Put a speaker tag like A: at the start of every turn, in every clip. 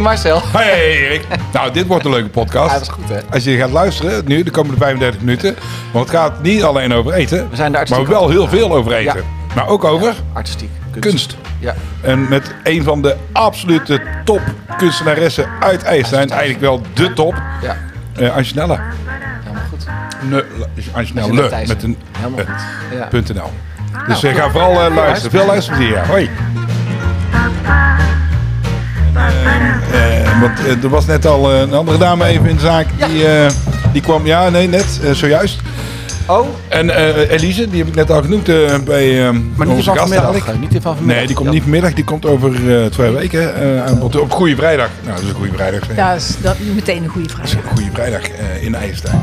A: Marcel.
B: Hey Erik. Nou, dit wordt een leuke podcast.
A: Ja, dat is goed, hè?
B: Als je gaat luisteren nu, de komende 35 minuten. Want het gaat niet alleen over eten.
A: We zijn daar
B: maar
A: artistiek
B: wel
A: over.
B: heel veel over eten. Maar ook over
A: Artistiek. Kunst.
B: kunst.
A: Ja.
B: En met een van de absolute top kunstenaressen uit IJsland. Eigenlijk wel de top.
A: Ja.
B: Eh Angelina.
A: Helemaal goed.
B: Ne, Angelina
A: Angela
B: Le.
A: Thijssen.
B: Met een
A: Helemaal
B: eh,
A: goed. Ja.
B: punt .nl. Dus eh, ga vooral eh, luisteren. Veel luisterplezier. ja. Hoi. Eh, want eh, er was net al eh, een andere dame even in de zaak. Die, eh, die kwam, ja, nee, net, eh, zojuist.
A: Oh,
B: En eh, Elise, die heb ik net al genoemd eh, bij eh
A: maar niet
B: onze
A: van
B: gast
A: vanmiddag.
B: eigenlijk.
A: eh, Niet van vanmiddag.
B: Nee, die komt
A: Ja.
B: niet vanmiddag. Die komt over eh, twee weken eh, aan bod. Op Goede Vrijdag. Nou, dat is een Goede Vrijdag. zeg.
C: Dat is dat, meteen een goede vraag.
B: Goede Vrijdag eh, in IJsselstein.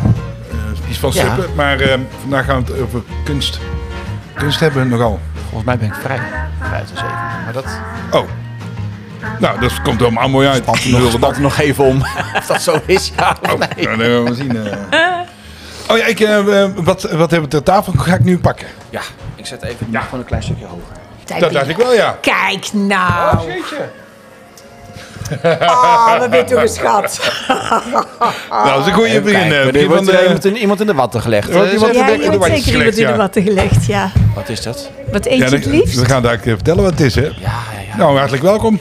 B: Eh iets van
A: Ja.
B: Sippen. Maar eh, vandaag gaan we het over kunst. Kunst hebben we nogal.
A: Volgens mij ben ik vrij. Vijf tot zeven. Maar dat
B: Oh. Nou, dat komt helemaal mooi uit. Nul de
A: spant er nog even om. of dat zo is, ja of
B: Oh,
A: nee.
B: nou, dat gaan we zien. eh. Oh ja, ik, eh, eh, wat, wat hebben we ter tafel? Ga ik nu pakken?
A: Ja, ik zet even gewoon een klein stukje hoger.
B: Dat dacht ik wel, ja.
C: Kijk nou.
B: Jeetje.
C: Oh, wat ben je toch een schat.
B: Nou, dat is een goede begin. eh, begin
A: er
B: van
A: wordt
B: de-
A: er iemand, in, iemand in de watten gelegd.
B: wordt
A: Eh,
B: iemand-
A: zeg-
C: Ja,
B: denk-
C: je
B: dat
C: hebt
B: wordt
C: zeker iemand
B: slecht,
C: in de
B: ja.
C: watten gelegd, ja.
A: Wat is dat?
C: Wat eet
B: Ja,
C: je het
B: dat-
C: liefst?
B: We gaan daar eh, vertellen wat het is, hè?
A: Ja, ja, ja.
B: Nou, hartelijk welkom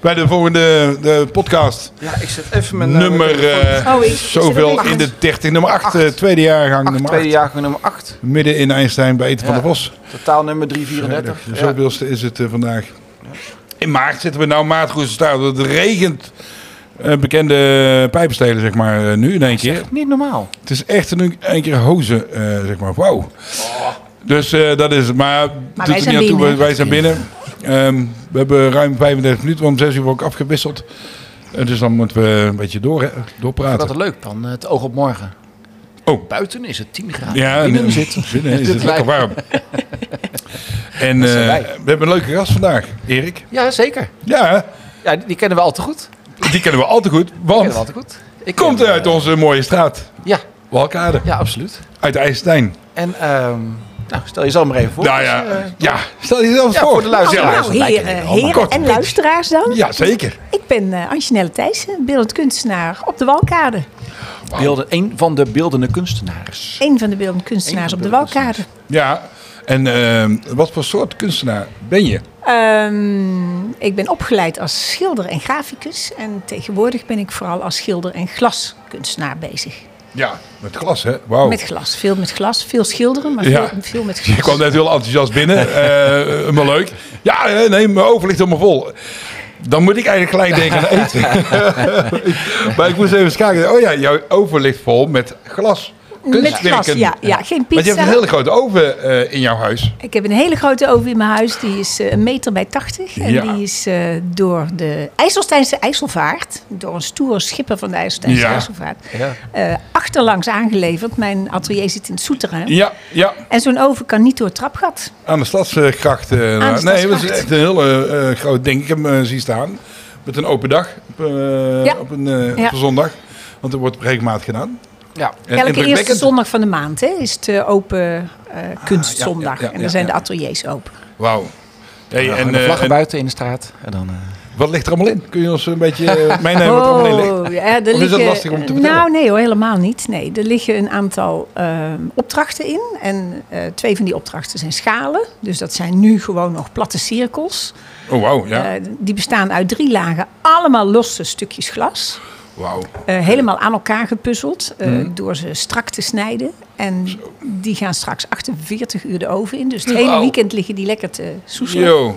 B: bij de volgende eh, podcast.
A: ja ik zet even mijn... eh,
B: nummer eh,
C: Oh, ik- ik zit
B: zoveel
C: erbij.
B: in de 13, nummer 8, tweede jaargang,
A: acht,
B: nummer
A: tweede
B: 8.
A: jaargang nummer 8.
B: Midden in Einstein bij Eten van
A: Ja.
B: de Bos.
A: Totaal nummer 334. Ja.
B: Zoveelste is het eh, vandaag. In maart zitten we nou maart goed staan. Het regent eh, bekende pijpenstelen, zeg maar, eh, nu in één keer.
A: Niet normaal.
B: Het is echt in één- één keer hozen, eh, zeg maar. Wauw. Dus eh, dat is het. Maar, doet
C: wij
B: er
C: zijn
B: niet aan toe,
C: binnen.
B: wij- wij zijn binnen. Ehm, we hebben ruim 35 minuten, om 6 uur wordt ook afgewisseld. Eh, dus dan moeten we een beetje door, hè,
A: Wat
B: doorpraten.
A: een leuk van het oog op morgen.
B: Oh.
A: Buiten is het 10 graden.
B: Ja,
A: binnen
B: en, eh,
A: zit.
B: binnen is het
A: Dit
B: lekker warm. En
A: zijn
B: eh,
A: wij.
B: we hebben een leuke gast vandaag, Erik.
A: Ja, zeker.
B: Ja, hè?
A: Ja, die, die kennen we al te goed. Die
B: Die kennen we al te goed,
A: kennen we al
B: want
A: te goed. Ik
B: komt
A: ken,
B: uit
A: eh,
B: onze mooie straat,
A: Ja,
B: Walkade,
A: ja, absoluut.
B: uit IJsselstein.
A: En ehm, nou, stel jezelf maar even voor.
B: Nou
A: Dus,
B: ja,
A: eh,
B: ja, stel jezelf
A: Ja,
B: voor.
A: voor de luisteraar.
B: Ja,
C: nou,
A: luisteren, lijken
C: heren,
A: jullie
B: allemaal.
C: heren en luisteraars dan.
B: Ja, zeker.
C: Ik ben eh Anjanelle Thijssen, beeldend kunstenaar op de Walkade.
A: beelden, een van de beeldende kunstenaars.
C: Eén van de beeldend kunstenaars
A: Eén
C: op
A: van
C: de
A: de beeldend
C: Walkade.
B: Ja, en ehm, wat voor soort kunstenaar ben je?
C: Ehm, ik ben opgeleid als schilder en graficus. En tegenwoordig ben ik vooral als schilder en glaskunstenaar bezig.
B: Ja, met glas, hè? Wauw.
C: Met glas, veel met glas. Veel schilderen, maar
B: Oh. Ja.
C: veel, veel met
B: Je kwam
C: glas.
B: net heel enthousiast binnen, eh, maar leuk. Ja, eh, nee, mijn oven ligt helemaal vol. Dan moet ik eigenlijk gelijk denken aan eten. maar ik moest even kijken. Oh ja, jouw oven ligt vol met glas.
C: Met glas,
B: Kunstwerken.
C: ja, ja. Geen
B: Want je hebt een
C: pizza.
B: hele grote oven eh, in jouw huis.
C: Ik heb een hele grote oven in mijn huis. Die is eh, een meter bij 80. En
B: Ja.
C: die is eh, door de IJsselsteinse IJsselvaart. Door een stoere schipper van de IJsselsteinse
B: Ja.
C: IJsselvaart.
A: Ja.
C: eh, achterlangs aangeleverd. Mijn atelier zit in het Soeteren.
B: Ja, ja.
C: En zo'n oven kan niet door het trapgat.
B: Aan de stadsgracht. eh, nou, nee, dat is
C: Stadsgracht.
B: echt een heel eh, eh, groot ding. Ik heb hem eh, zien staan. Met een open dag. Op, eh,
C: Ja.
B: op, een, eh, op
C: Ja.
B: een zondag. Want er wordt regelmatig gedaan.
A: Ja.
B: En
C: Elke eerste
B: indrukwekkend.
C: zondag van de maand hè, is het eh, open eh, kunstzondag.
B: Ah, ja, ja,
C: en
B: ja,
C: dan zijn
B: ja.
C: de ateliers open.
B: Wauw. Hey,
A: Ja,
B: en,
A: en de
B: eh,
A: vlaggen
B: en
A: buiten in de straat. En dan, eh,
B: wat ligt er allemaal in? Kun je ons een beetje eh, meenemen wat er allemaal in ligt?
C: Oh, ja, er
B: Of is dat
C: liggen-
B: lastig om te vertellen?
C: Nou, nee hoor, helemaal niet. Nee, er liggen een aantal ehm, opdrachten in. En eh, twee van die opdrachten zijn schalen. Dus dat zijn nu gewoon nog platte cirkels.
B: Oh, wauw. Ja.
C: Eh, die bestaan uit drie lagen, allemaal losse stukjes glas.
B: wauw.
C: Eh, helemaal aan elkaar gepuzzeld eh,
B: Mhm.
C: door ze strak te snijden. En die gaan straks 48 uur de oven in. Dus het hele
B: Wauw.
C: weekend liggen die lekker te soezelen.
B: Yo.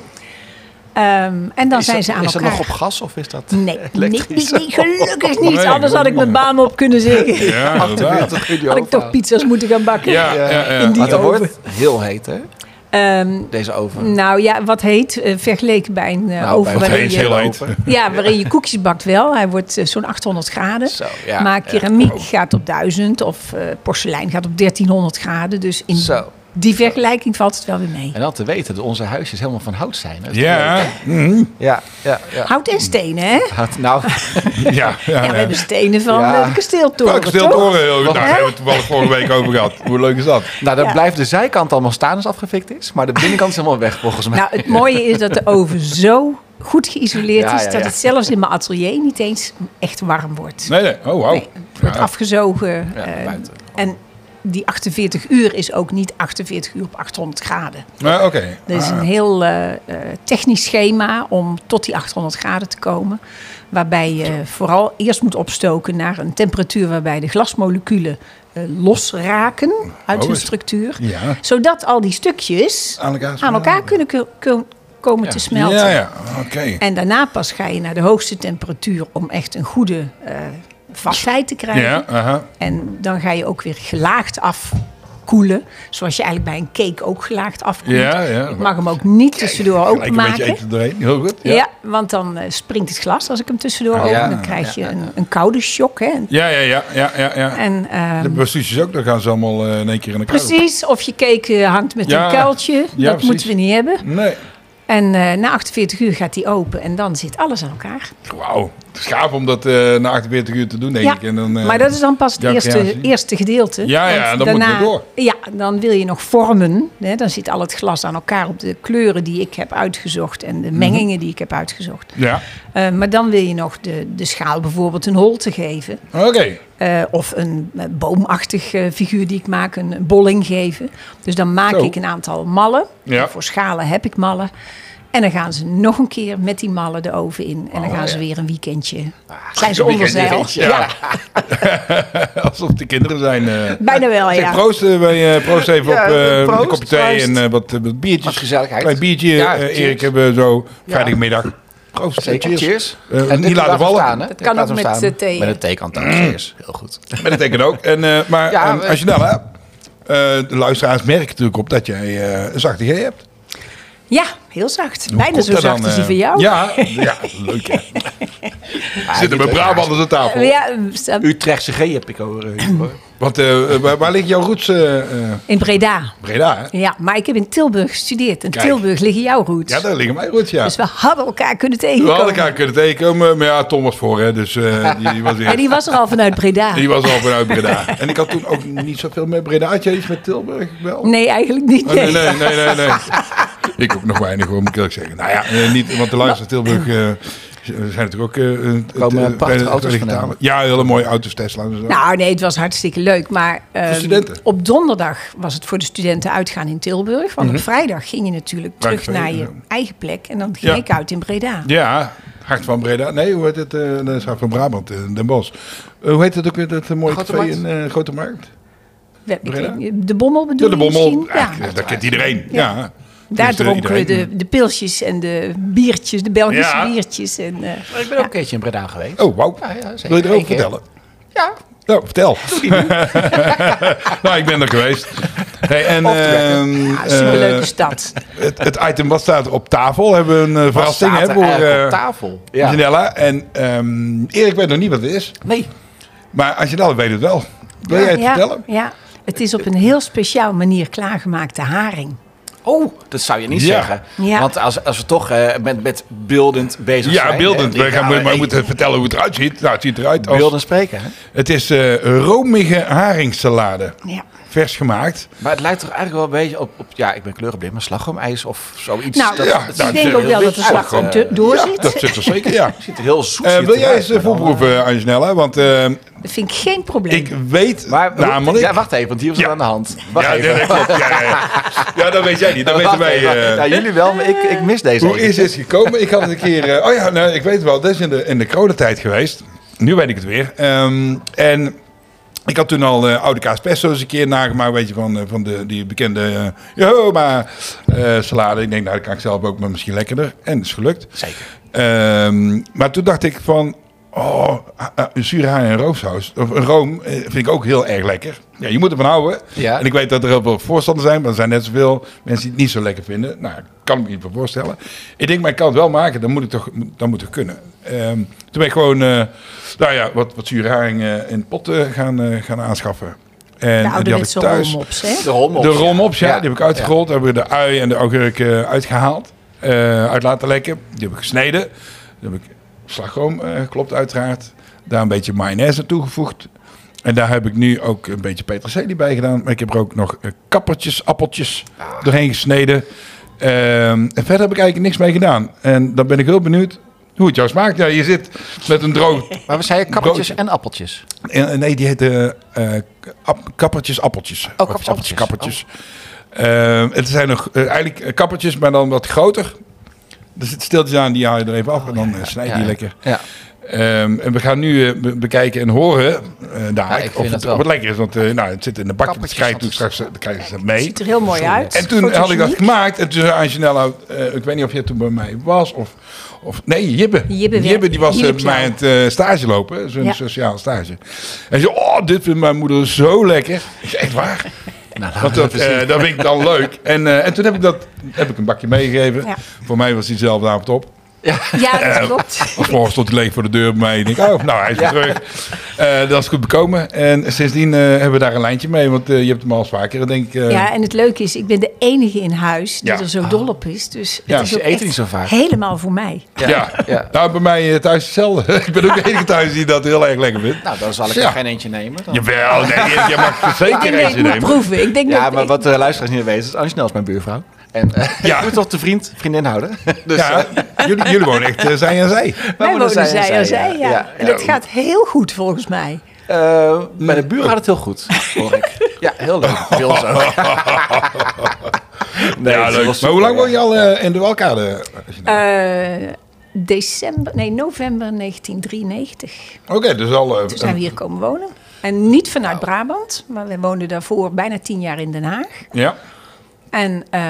C: Ehm, en dan
A: is
C: zijn
A: dat,
C: ze aan
A: Is dat
C: elkaar.
A: nog op gas of is dat
C: Nee, nee, nee,
A: elektrisch?
C: nee, gelukkig niet.
B: Nee,
C: Anders had ik mijn baan op kunnen zeggen.
B: Ja, inderdaad.
C: Had ik toch pizza's moeten gaan bakken.
B: Ja, ja, ja.
C: In die
A: Maar dat
C: oven.
A: wordt heel heet, hè?
C: Ehm,
A: Deze oven.
C: nou ja, wat heet eh, vergeleken bij een eh,
A: Nou, bij
C: oven
A: een
C: waarin
B: Opeens
C: je,
B: heel heet.
C: ja, waarin je koekjes bakt wel. Hij wordt eh, zo'n 800 graden.
A: Zo, ja,
C: maar
A: ja.
C: keramiek gaat op 1000 of eh, porselein gaat op 1300 graden. Dus in
A: Zo.
C: die vergelijking valt het wel weer mee.
A: En dan te weten dat onze huisjes helemaal van hout zijn. Dat is
B: Ja, mhm.
A: Ja, ja, ja.
C: Hout en stenen, hè? Ja,
A: Hout, nou,
B: ja, ja.
C: we
B: ja.
C: hebben stenen van
A: Ja.
C: eh, de kasteeltoren,
B: Welke
C: toch?
B: steeltoren heel goed. Nou, daar hebben we het toevallig vorige week over gehad. Hoe leuk is dat?
A: nou dan
C: Ja.
A: blijft de zijkant allemaal staan als het afgefikt is. Maar de binnenkant is helemaal weg volgens mij.
C: Nou, het mooie is dat de oven zo goed geïsoleerd
A: Ja,
C: is...
A: ja,
C: dat
A: ja.
C: het zelfs in mijn atelier niet eens echt warm wordt.
B: Nee, nee. Oh, wauw.
C: Nee, het wordt
B: Ja.
C: afgezogen. eh,
A: buiten.
C: en die 48 uur is ook niet 48 uur op 800 graden.
B: Maar oké.
C: Er is
B: Ah.
C: een heel eh, eh, technisch schema om tot die 800 graden te komen. Waarbij je vooral eerst moet opstoken naar een temperatuur waarbij de glasmoleculen eh, losraken uit
B: Oh,
C: hun
B: is-
C: structuur.
B: Ja.
C: Zodat al die stukjes
B: Aan elkaar
C: aan elkaar kunnen ko- ko- komen te smelten.
B: Ja, ja. Oké.
C: En daarna pas ga je naar de hoogste temperatuur om echt een goede eh, vastheid te krijgen.
B: Ja, aha.
C: En dan ga je ook weer gelaagd afkoelen. Zoals je eigenlijk bij een cake ook gelaagd afkoelt.
B: Ja, ja.
C: Ik mag hem ook niet tussendoor
B: Gelijk een beetje
C: openmaken.
B: eten doorheen. Heel goed.
C: Ja.
B: Ja,
C: want dan eh, springt het glas als ik hem tussendoor
A: Ah,
C: open.
A: ja.
C: Dan krijg je een, een koude shock. Hè?
B: ja, ja. ja, ja, ja, ja.
C: En, ehm,
B: De pasties ook, dan gaan ze allemaal eh, in één keer in de kou.
C: precies, of je cake eh, hangt met
B: Ja.
C: een kuiltje. dat
B: precies.
C: moeten we niet hebben.
B: Nee.
C: En eh, na 48 uur gaat die open en dan zit alles aan elkaar.
B: Wauw. Het is gaaf om dat eh, na 48 uur te doen, denk
C: Ja,
B: ik. En dan, eh,
C: maar dat is dan pas het
B: ja,
C: eerste,
B: kan je zien.
C: eerste gedeelte.
B: Ja, ja,
C: Want
B: dan moeten we door.
C: Ja, dan wil je nog vormen. Hè, dan zit al het glas aan elkaar op de kleuren die ik heb uitgezocht en
B: Mhm.
C: de mengingen die ik heb uitgezocht.
B: Ja.
C: Eh, maar dan wil je nog de, de schaal bijvoorbeeld een holte geven.
B: Oké.
C: eh, of een eh, boomachtig eh, figuur die ik maak, een, een bolling geven. Dus dan maak
B: Zo.
C: ik een aantal mallen.
B: Ja.
C: Voor schalen heb ik mallen. En dan gaan ze nog een keer met die mallen de oven in. En dan gaan ze weer een weekendje. Zijn ze
B: Oh, Ah, een
C: onder
B: weekendje,
C: zeil.
B: ja. Alsof de kinderen zijn. eh.
C: Bijna wel,
B: Zeg,
C: ja.
B: proost, eh, wij, eh, proost even
A: Ja,
B: op eh,
A: proost,
B: een kopje thee
A: proost.
B: en eh, wat, eh, wat biertjes.
A: Wat gezelligheid.
B: Klein biertje,
A: Ja,
B: eh,
A: cheers.
B: Erik, hebben we zo vrijdagmiddag. Proost,
A: Zeker, cheers.
B: Eh,
A: dit
B: niet
A: moet
B: laten
A: daarvoor
B: vallen. Mm.
A: staan, hè?
C: Dat
A: Dit
C: kan
A: laat
C: ook
A: hem
C: met
A: staan.
C: de thee.
A: Met de theekant ook, cheers. Heel goed.
B: Maar dat betekent ook. En, eh, maar
A: Ja,
B: en
A: we-
B: als je nou, hè, eh, de luisteraars merken natuurlijk op dat jij eh een zachte G hebt.
C: Ja, heel zacht.
B: Hoe
C: Bijna
B: komt
C: zo
B: dat
C: zacht
B: dan,
C: als die
B: eh?
C: van jou.
B: Ja, ja leuk hè. Zitten we Brabanders aan tafel.
C: Ja, eh,
A: Utrechtse G heb ik al. eh, hoor.
B: Want eh, waar, waar ligt jouw roots? eh, eh,
C: in Breda.
B: Breda hè?
C: Ja, maar ik heb in Tilburg gestudeerd. In
B: Kijk.
C: Tilburg liggen jouw roots.
B: Ja, daar liggen mijn roots, ja.
C: Dus we hadden elkaar kunnen
B: We
C: tegenkomen.
B: hadden elkaar kunnen tegenkomen, maar ja, Tom was voor hè. Dus eh, die, die was weer...
C: Maar die was er al vanuit Breda.
B: Die was al vanuit Breda. En ik had toen ook niet zoveel met Breda. Had jij iets met Tilburg wel?
C: Nee, eigenlijk niet.
B: Oh, nee, nee, nee, nee, nee. Ik ook nog weinig, hoor, moet ik eerlijk zeggen. Nou ja, eh, niet, want de luisteraar Tilburg eh, zijn natuurlijk ook... eh, eh,
A: Komen
B: eh,
A: prachtige
B: eh,
A: auto's
B: digitale-
A: vandaan.
B: Ja, hele mooie auto's, Tesla. en zo.
C: Nou, nee, het was hartstikke leuk. Maar ehm,
B: studenten?
C: op donderdag was het voor de studenten uitgaan in Tilburg. Want op vrijdag ging je natuurlijk terug
B: Dank Mhm. je.
C: naar je eigen plek. En dan ging
B: Ja.
C: ik uit in Breda.
B: Ja, Hart van Breda. Nee, hoe heet het? eh dat is Hart van Brabant, eh, Den Bosch. Eh, hoe heet het ook weer, dat eh, mooie
A: Grote
B: café
A: Markt?
B: in eh, Grote Markt?
C: We- ik
B: Breda?
C: weet niet, De bommel bedoel
B: Ja, de
C: je
B: Bommel.
C: misschien? Ja.
B: Ja. Dat kent iedereen, ja.
C: Daar
B: Tenminste,
C: dronken we
B: iedereen.
C: de, de pilsjes en de biertjes, de Belgische
B: Ja.
C: biertjes. En, eh,
A: Ik ben ook een keertje in Breda geweest.
B: Oh, wauw.
A: Ja, ja, zeker.
B: Wil je
A: Eén
B: erover
A: keer.
B: vertellen?
A: Ja.
B: Nou, vertel. nou, ik ben er geweest. Hey, en,
A: Off the
B: ehm,
C: ja, Ah, superleuke
B: eh,
C: stad.
B: het, het item wat staat er op tafel. Hebben we een eh, verrassing
A: staat
B: hè,
A: er
B: voor
A: eigenlijk
B: eh,
A: op tafel? Ja.
B: Janella. En ehm Erik weet nog niet wat het is.
A: Nee.
B: Maar Angela weet het wel. Wil jij het
C: ja,
B: vertellen?
C: Ja, het is op een heel speciaal manier klaargemaakte haring.
A: Oh, dat zou je niet
B: Ja.
A: zeggen.
C: Ja.
A: Want als, als we toch eh, met, met beeldend bezig zijn.
B: Ja,
A: hè,
B: beeldend.
A: die
B: We gaan,
A: gaan
B: maar
A: we-
B: moeten vertellen hoe het eruit ziet. Nou, het ziet eruit als...
A: beeldend spreken. Hè?
B: Het is eh, romige haringsalade.
C: Ja.
B: Vers gemaakt.
A: Maar het lijkt toch eigenlijk wel een beetje op, op ja, ik ben kleurenblind, maar slagroomijs of zoiets.
C: Nou,
B: ja,
A: het
B: nou,
C: ik
A: ziet
C: denk
A: er
C: ook
A: heel
C: wel
A: wit
C: dat de
A: uit,
C: slagroom
A: eh,
C: te- door
B: Ja,
C: zit.
B: dat zit er zeker, ja.
A: het ziet er heel zoet
B: Eh,
A: ziet
B: wil
A: het
B: jij
A: eruit,
B: eens
A: maar
B: eh,
A: dan,
B: voorproeven, Angela? Want eh,
C: Dat vind ik geen probleem.
B: ik weet
A: eh, Maar hoe-
B: namelijk...
A: ja, wacht even, want hier was
B: Ja.
A: het aan de hand. Wacht
B: ja,
A: even.
B: nee, dat klopt. Ja, ja, ja. ja, dat weet jij niet. Dat weten
A: Wacht
B: wij.
A: even.
B: eh.
A: ja, jullie wel, maar ik, ik mis deze.
B: Hoe
A: even.
B: is dit gekomen? Ik had het een keer... eh, oh ja, nou, ik weet wel. Dat is in de, in de coronatijd geweest. Nu weet ik het weer. Ehm, en ik had toen al eh, oude kaaspesto eens een keer nagemaakt. Weet je, van, eh, van de, die bekende eh Jehoma eh, salade. Ik denk, nou, dat kan ik zelf ook, maar misschien lekkerder. En dat is gelukt.
A: Zeker.
B: Ehm, maar toen dacht ik van, oh, ah, ah, een zure haring en roomsaus, of een room, eh, vind ik ook heel erg lekker. Ja, je moet ervan houden.
A: Ja.
B: En ik weet dat er heel veel voorstanders zijn, maar er zijn net zoveel mensen die het niet zo lekker vinden. Nou, ik kan me niet voor voorstellen. Ik denk, maar ik kan het wel maken, dan moet het toch dan moet het kunnen. Ehm, toen ben ik gewoon, eh, nou ja, wat, wat zure haring eh, in potten gaan, eh, gaan aanschaffen. En
C: de
B: en die had ik
C: ouderwetse
B: thuis.
C: rolmops, hè?
A: De rommel.
B: De romops, ja,
A: Ja.
B: die heb ik uitgerold. Daar hebben we de ui en de augurk eh, uitgehaald. eh, uit laten lekken. Die heb ik gesneden. Daar heb ik slagroom eh, geklopt uiteraard. Daar een beetje mayonaise aan toegevoegd. En daar heb ik nu ook een beetje peterselie bij gedaan. Maar ik heb er ook nog eh, kappertjes, appeltjes doorheen gesneden. Ehm, en verder heb ik eigenlijk niks mee gedaan. En dan ben ik heel benieuwd hoe het jou smaakt. Ja, je zit met een droog...
A: Maar we zeiden kappertjes
B: Brood.
A: en appeltjes.
B: Eh, Nee, die heette eh ap- kappertjes appeltjes. Of
A: Oh, kappertjes, Oh.
B: appeltjes,
A: appeltjes.
B: kappertjes. Eh, het zijn nog eh, eigenlijk eh, kappertjes, maar dan wat groter. Er zit stiltjes aan, die haal je er even af en dan eh, snij je
A: Oh,
B: die
A: ja.
B: lekker.
A: Ja.
B: Ehm, en we gaan nu eh, be- bekijken en horen eh
A: Ja,
B: daar
A: ik vind
B: of,
A: het
B: het,
A: wel.
B: of het lekker is. Want eh, nou, het zit in de bakje, dat
A: Kappertjes,
B: krijg je
A: dat
B: natuurlijk straks eh, krijg je ze mee.
C: Ziet er heel mooi uit.
B: En toen had ik dat
C: Fotogeniek.
B: gemaakt. En toen zei Angelella, eh, ik weet niet of je toen bij mij was. Of, of nee, Jibbe.
C: Jibbe werd-
B: die was eh,
C: Jibbe
B: bij mij aan het eh, stage lopen. Zo'n
C: Ja.
B: sociale stage. En ze oh, dit vindt mijn moeder zo lekker. Ik zei, echt waar?
A: Nou, laten
B: Want
A: we
B: dat,
A: even zien.
B: eh, dat vind ik dan leuk. En, eh, en toen heb ik, dat, heb ik een bakje meegegeven.
C: Ja.
B: Voor mij was die zelfde avond op.
C: Ja, dat klopt.
B: Of morgen stond hij leeg voor de deur bij mij. En ik denk, oh, nou, hij is weer terug. Eh, dat is goed bekomen. En sindsdien eh, hebben we daar een lijntje mee. Want eh, je hebt hem al eens vaker, denk ik. eh,
C: Ja, en het leuke is, ik ben de enige in huis die
B: Ja.
C: er zo dol op is. Dus
B: Ja.
C: het is
B: Ze
C: ook
A: eten
C: echt
A: niet zo vaak.
C: helemaal voor mij.
B: Ja.
A: Ja.
B: nou bij mij eh, thuis hetzelfde. ik ben ook de enige thuis die dat heel erg lekker vindt.
A: Nou, dan zal ik
B: Ja.
A: er geen eentje nemen. Dan.
B: Jawel, nee, je, je mag er
C: Ik
B: zeker
C: denk dat ik
B: eentje
C: moet
B: nemen.
C: proeven. Ik denk
A: Ja,
C: dat
A: maar
C: ik-
A: wat de luisteraars niet weten, is Angelina is mijn buurvrouw. En eh,
B: Ja.
A: ik moet toch de vriend, vriendin houden. Dus,
B: Ja,
A: eh,
B: jullie, jullie wonen echt eh, zij aan zij.
C: Wij
A: wonen
C: wonen zij
A: zij en
C: aan
A: zij,
C: zij,
A: ja.
C: ja.
A: Ja,
C: En
A: ja.
C: het gaat heel goed volgens mij.
A: eh, bij de buren gaat het heel goed, hoor ik. Ja, heel leuk. Veel zo. nee,
B: Ja,
A: het was
B: leuk. Maar
A: super,
B: hoe lang
A: ja.
B: woon je al eh, in de Walkade?
C: Eh, december, nee, november 1993.
B: Oké, dus al... eh,
C: Toen zijn we hier komen wonen. En niet vanuit Brabant, maar we woonden daarvoor bijna tien jaar in Den Haag.
B: Ja,
C: En, eh,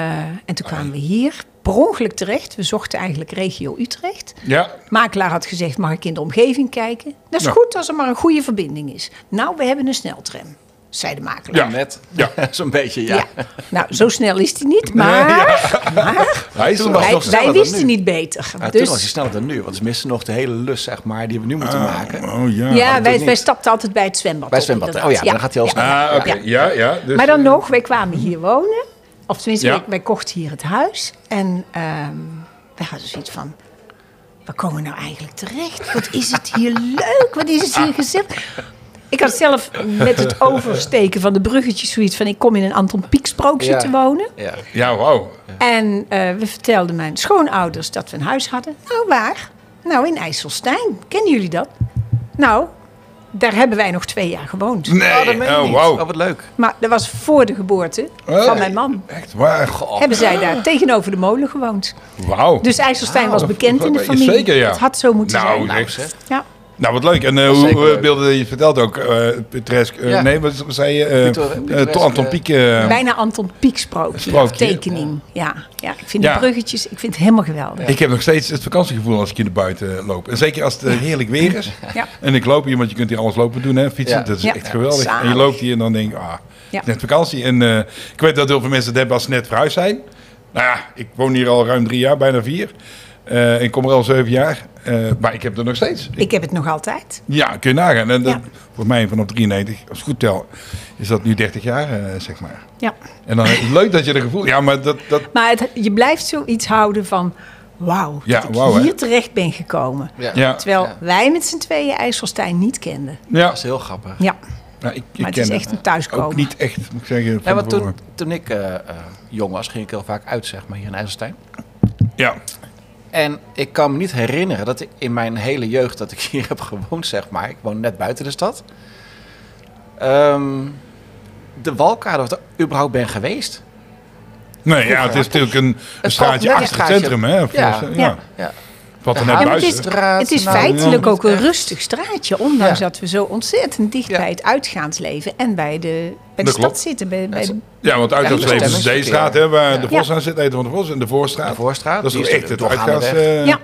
C: en toen kwamen we hier per ongeluk terecht. We zochten eigenlijk regio Utrecht.
B: ja.
C: Makelaar had gezegd, mag ik in de omgeving kijken? Dat is
B: Ja.
C: goed als er maar een goede verbinding is. Nou, we hebben een sneltram, zei de makelaar.
B: Ja.
A: Net.
B: Ja.
A: Zo'n beetje, ja.
C: Ja. Nou, zo snel is die niet, maar, maar
B: Hij is
A: Toen
B: er
A: was
B: wel.
A: het
C: wij,
A: nog sneller
C: wij
A: dan
C: wisten
A: nu.
C: niet beter.
A: Maar
C: dus,
A: Toen Nou, was hij sneller dan nu, want ze missen nog de hele lus, zeg maar, die we nu moeten maken.
B: Oh ja.
C: ja, wij,
A: niet.
C: wij stapten altijd bij het zwembad.
A: Bij
C: op,
A: zwembad,
C: inderdaad.
A: oh ja, dan gaat hij al snel.
B: Ah, oké.
C: Ja.
B: Ja, ja. Dus,
C: Maar dan
A: eh.
C: nog, wij kwamen hier wonen. Of tenminste,
B: Ja.
C: wij, wij kochten hier het huis. En ehm wij hadden zoiets van... Waar komen we nou eigenlijk terecht? Wat is het hier leuk? Wat is het hier gezellig? Ik had zelf met het oversteken van de bruggetjes zoiets van... ik kom in een Anton Pieck sprookje
A: Ja.
C: te wonen.
A: Ja.
B: Ja, wauw.
C: En eh, we vertelden mijn schoonouders dat we een huis hadden. Nou, waar? Nou, in IJsselstein. Kennen jullie dat? Nou, daar hebben wij nog twee jaar gewoond.
A: Oh, dat
B: Nee,
A: meen je
B: oh,
A: niet.
B: wauw.
A: Oh, wat leuk.
C: Maar dat was voor de geboorte
B: Hey.
C: van mijn man.
B: Echt waar.
C: Hebben zij daar tegenover de molen gewoond.
B: Wauw.
C: Dus IJsselstein was bekend in de familie.
B: Ah, Zeker, ja.
C: Het had zo moeten
B: Nou,
C: zijn.
B: echt.
C: Ja.
B: Nou, wat leuk. En eh,
A: is
B: hoe
A: zeker
B: eh,
A: leuk.
B: beelden je vertelt ook, eh pittoresk, eh,
A: Ja.
B: nee, wat zei je? eh,
A: Pittor-
B: eh,
A: pittoresk,
B: to- Anton
A: eh,
B: Pieck. eh,
C: Bijna Anton Pieck sprookje.
B: Sprookje.
C: Of tekening. Ja. Ja, ik vind
B: Ja.
C: de bruggetjes ik vind het helemaal geweldig.
B: Ik heb nog steeds het vakantiegevoel als ik hier naar buiten loop. En zeker als het eh, heerlijk weer is.
C: Ja.
B: En ik loop hier, want je kunt hier alles lopen doen, hè, fietsen.
A: Ja.
B: Dat is
C: Ja.
B: echt geweldig. En je
C: Zalig.
B: loopt hier en dan denk je, ah,
C: Ja.
B: net vakantie. En eh, ik weet dat heel veel mensen dat hebben als ze net verhuisd zijn. Nou ja, ik woon hier al ruim drie jaar, bijna vier. Eh, ik kom er al zeven jaar. Eh, maar ik heb het nog steeds.
C: Ik heb het nog altijd.
B: Ja, kun je nagaan. En dat,
C: Ja.
B: Voor mij vanaf 93, als ik goed tel, is dat nu 30 jaar, eh, zeg maar.
C: Ja.
B: En dan leuk dat je er gevoel... Ja, maar dat... dat
C: Maar het, je blijft zoiets houden van... Wauw,
B: Ja,
C: dat ik
B: wauw, hè?
C: hier terecht ben gekomen.
A: Ja.
B: ja,
C: Terwijl
A: Ja.
C: wij met z'n tweeën IJsselstein niet kenden.
B: ja.
A: Dat is heel grappig.
C: Ja,
B: Nou, ik, ik
C: maar het
B: ken
C: is
B: het
C: echt een
B: ook
C: thuiskomen.
B: niet echt, moet ik zeggen.
A: Ja,
B: Van
A: want
B: tevoren.
A: toen, toen ik eh, eh, jong was, ging ik heel vaak uit, zeg maar, hier in IJsselstein.
B: Ja.
A: En ik kan me niet herinneren dat ik in mijn hele jeugd dat ik hier heb gewoond, zeg maar. Ik woon net buiten de stad. Ehm, de Walkade, of ik er überhaupt ben geweest.
B: Nee, ja, het is natuurlijk een, een
A: valt
B: straatje
A: net
B: achter het
A: straatje.
B: centrum, hè? voor-
A: Ja.
B: Ja.
C: Ja.
A: Ja.
B: Wat er
A: Ja,
B: net
C: Ja, maar het
B: buiten.
C: is, het is
A: Nou,
C: feitelijk
A: ja.
C: ook een rustig straatje. Ondanks
A: Ja.
C: dat we zo ontzettend dicht
A: Ja.
C: bij het uitgaansleven en bij de, bij de
B: Dat
C: stad
B: klopt.
C: zitten. Bij, bij
A: Ja,
C: de-
B: Ja, want uit
A: Ja,
B: dat
A: die
B: leven is de
A: bestemming.
B: D-straat, hè, waar de
C: Ja.
B: Vos aan zit, Eten van de Vos, en de Voorstraat.
A: De Voorstraat,
B: Dat is
A: die
B: toch
A: is
B: echt
A: de
B: het
A: doorgaande
B: uitgaans...
A: weg.
B: eh,
C: Ja.